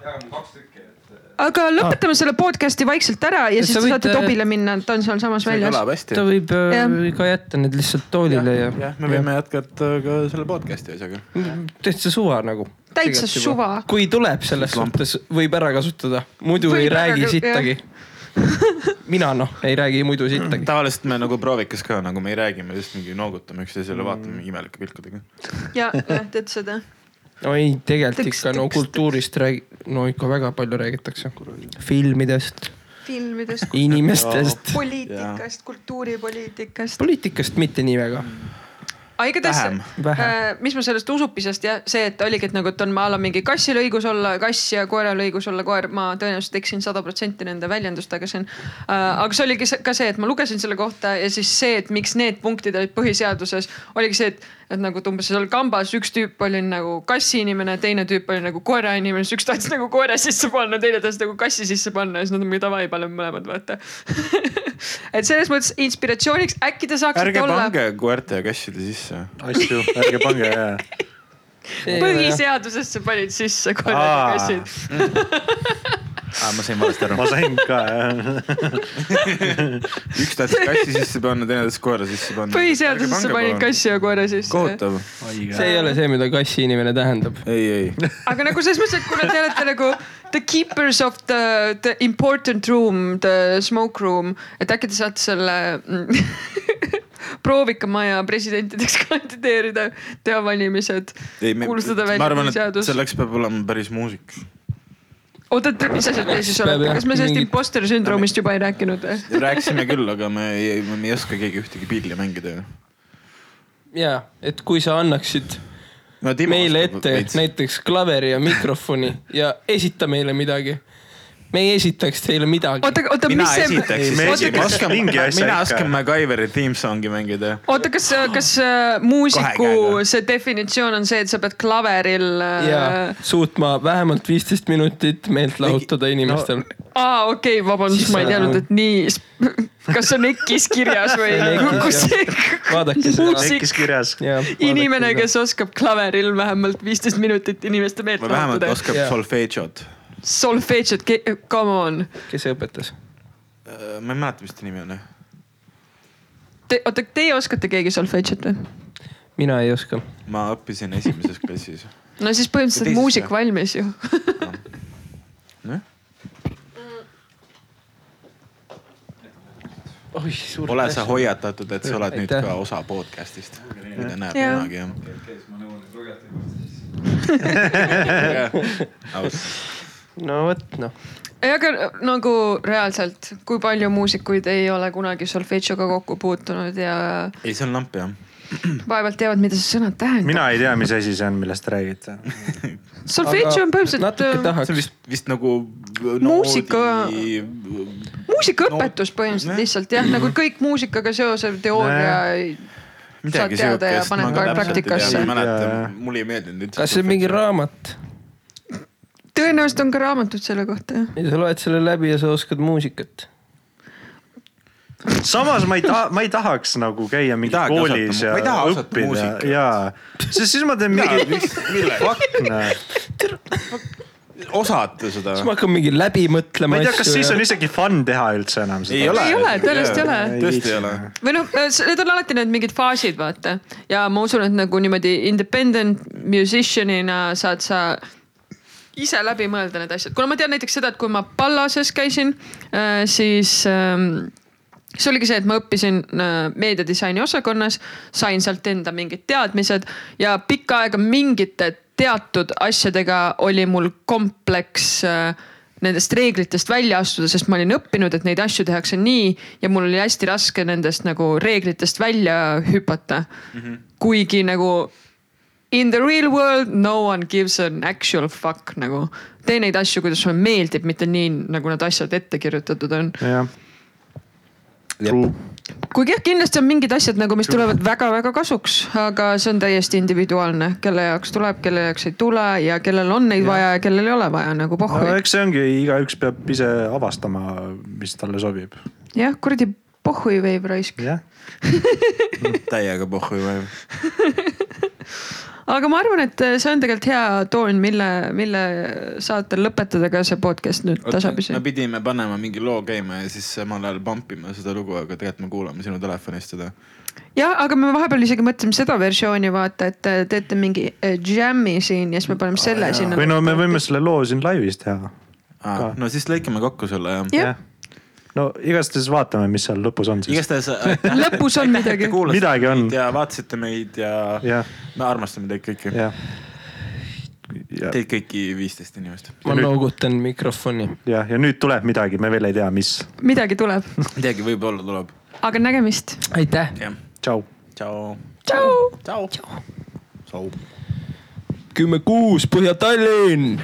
aga lõpetame selle podcast'i vaikselt ära ja Sa siis te võid, saate äh, Tobile minna , ta on sealsamas see väljas . kõlab hästi ta . võib äh, Jah. ka jätta need lihtsalt toolile ja, jah , me võime jätkata ka selle podcast'i asjaga . täitsa suva nagu . Täitsa suva. kui tuleb selles Lamp. suhtes , võib ära kasutada , muidu Võib võib ei ära räägi ka- sittagi . mina noh , ei räägi muidu sittagi . tavaliselt me nagu proovikas ka nagu me ei räägi , me lihtsalt mingi noogutame üksteisele , vaatame mingi imelike pilkudega . ja , jah , teed seda no ei , tegelikult Tõks, ikka no tõks, kultuurist räägi- , no ikka väga palju räägitakse . filmidest , filmidest , inimestest , poliitikast , kultuuripoliitikast . poliitikast mitte nii väga . aga Vähem. igatahes , Vähem. mis ma sellest usupisest ja see , et oligi , et nagu , et on maal on mingi kassil õigus olla kass ja koeral õigus olla koer , ma tõenäoliselt eksin sada protsenti nende väljendustega siin . aga see oligi se- ka see , et ma lugesin selle kohta ja siis see , et miks need punktid olid põhiseaduses , oligi see , et , et nagu et umbes seal kambas üks tüüp oli nagu kassi inimene , teine tüüp oli nagu koera inimene , siis üks tahtis nagu koera sisse panna , teine tahtis nagu kassi sisse panna ja siis nad on mingi davai , paneme mõlemad vaata . et selles mõttes inspiratsiooniks äkki te saaksite ärge olla . pange koerte ja kasside sisse . asju , ärge pange ja , põhiseadusesse panid sisse Aa. korralikassid . aa , Ah, ma sain valesti aru ma . sain ka jah . üks tahtis kassi sisse panna , teine tahtis koera sisse panna . põhiseadusesse panid . kassi ja koera sisse . kohutav . see ei ole see , mida kassi inimene tähendab . ei , ei . aga nagu selles mõttes , et kuna te olete nagu the keepers of the , the important room , the smoke room , et äkki te saate selle mm, proovikamaja presidentideks kandideerida , teha valimised , kuulutada välja põhiseadus . selleks peab olema päris muusik . oota , et mis asjad te siis Peab olete , jah, kas me sellest mingid- imposter sündroomist juba ei rääkinud või ? rääkisime küll , aga me ei , me ei oska keegi ühtegi pilli mängida ju . ja , et kui sa annaksid no Timo meile oskab ette veits. näiteks klaveri ja mikrofoni ja esita meile midagi . me ei esitaks teile midagi . oota , oota , mina mis see , esiteks Ei, me isegi , esitaks ma oskan , mingi mina asja ikka. oskan MacGyveri theme song'i mängida . oota , kas , kas äh, käega. muusiku see definitsioon on see , et sa pead klaveril ja äh... ? suutma vähemalt viisteist minutit meelt lahutada inimestel . aa , okei okay, , vabandust , Siis ma ei sa- nagu- teadnud , et nii . kas on EKIS kirjas või See on EKIS, kus see vaadake seda . tekkis kirjas . inimene , kes oskab klaveril vähemalt viisteist minutit inimeste meelt või vähemalt lahutada . oskab Jaa. solfedžot . solfedžot , come on . kes õpetas ? Äh, ma ei mäleta , mis ta nimi on jah . Te, oota , teie oskate keegi solfedžit või ? mina ei oska . ma õppisin esimeses klassis . no siis põhimõtteliselt Teises muusik jah. valmis ju . nojah , oih , suur ole sa . hoiatatud , et sa oled nüüd Aitäh. ka osa podcast'ist , mida näeb Jaa. kunagi jah . aus , no vot noh , ei , aga nagu reaalselt , kui palju muusikuid ei ole kunagi solfedžoga kokku puutunud ja ei see on lamp jah . vaevalt teavad , mida see sõna tähendab . mina ei tea , mis asi see on , millest te räägite . solfedžo Aga on natuke põhimõtteliselt äh, tahaks. see on vist , vist nagu Muusika- noodi- muusikaõpetus No- põhimõtteliselt Nojah. lihtsalt jah , nagu kõik muusikaga seosev teooria . midagi Saad teada ja siukest, paned ma kohe täpselt ei tea, praktikasse. ma ei Jaa. mäleta , mulle ei meeldinud üldse . kas see on mingi ? raamat ? tõenäoliselt on ka raamatud selle kohta jah . ja sa loed selle läbi ja sa oskad muusikat . samas ma ei taha , ma ei tahaks nagu käia mingi tahagi koolis osata- ja ma ei taha osata õppida muusikat. ja , sest siis ma teen mingi . millega ? Fuck noh , osata seda siis ma ? hakkan mingi läbi mõtlema . ma ei tea , kas siis on isegi fun teha üldse enam seda . Ei ole, tõenäoliselt ei ole. tõesti ei ole . või noh , need on alati need mingid faasid , vaata . ja ma usun , et nagu niimoodi independent musician'ina saad sa ise läbi mõelda need asjad , kuna ma tean näiteks seda , et kui ma Pallases käisin , siis ähm, see oligi see , et ma õppisin äh, meediadisaini osakonnas , sain sealt enda mingid teadmised ja pikka aega mingite teatud asjadega oli mul kompleks äh, nendest reeglitest välja astuda , sest ma olin õppinud , et neid asju tehakse nii ja mul oli hästi raske nendest nagu reeglitest välja hüpata mm . -hmm. kuigi nagu in the real world no one gives an actual fuck nagu . tee neid asju , kuidas sulle meeldib , mitte nii nagu need asjad ette kirjutatud on . jah , True. kuigi jah , kindlasti on mingid asjad nagu , mis tulevad väga-väga kasuks , aga see on täiesti individuaalne , kelle jaoks tuleb , kelle jaoks ei tule ja kellel on neid vaja ja kellel ei ole vaja nagu no pohhui . eks see ongi , igaüks peab ise avastama , mis talle sobib . jah , kuradi pohhui veeb raisk . jah , täiega pohhu juba ju . aga ma arvan , et see on tegelikult hea toon , mille , mille saatel lõpetada ka see podcast nüüd tasapisi me . pidime panema mingi loo käima ja siis samal ajal pump ima seda lugu , aga tegelikult me kuulame sinu telefonist seda . jah , aga me vahepeal isegi mõtlesime seda versiooni vaata , et äh, teete mingi äh, jam'i siin ja siis me paneme selle sinna . või no me võime selle loo siin laivis teha . Ka. Ah, no siis lõikame kokku selle ja . Jah. . no igastahes vaatame , mis seal lõpus on siis . igastahes aitäh , lõpus on midagi et . kuulasite Midagi on. meid ja vaatasite meid ja jah , me armastame teid kõiki . jah . jah , Teid kõiki viisteist inimest . ma nüüd- noogutan mikrofoni . ja, ja nüüd tuleb midagi , me veel ei tea , mis . midagi tuleb , midagi võib-olla tuleb . aga nägemist . aitäh . jah . tšau . tšau . tšau . tšau . tšau . kümme kuus , Põhja-Tallinn .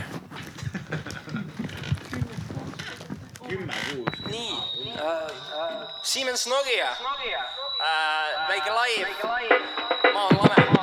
Eh, Siemens Nokia . Nokia . väike laiv . ma olen Lame .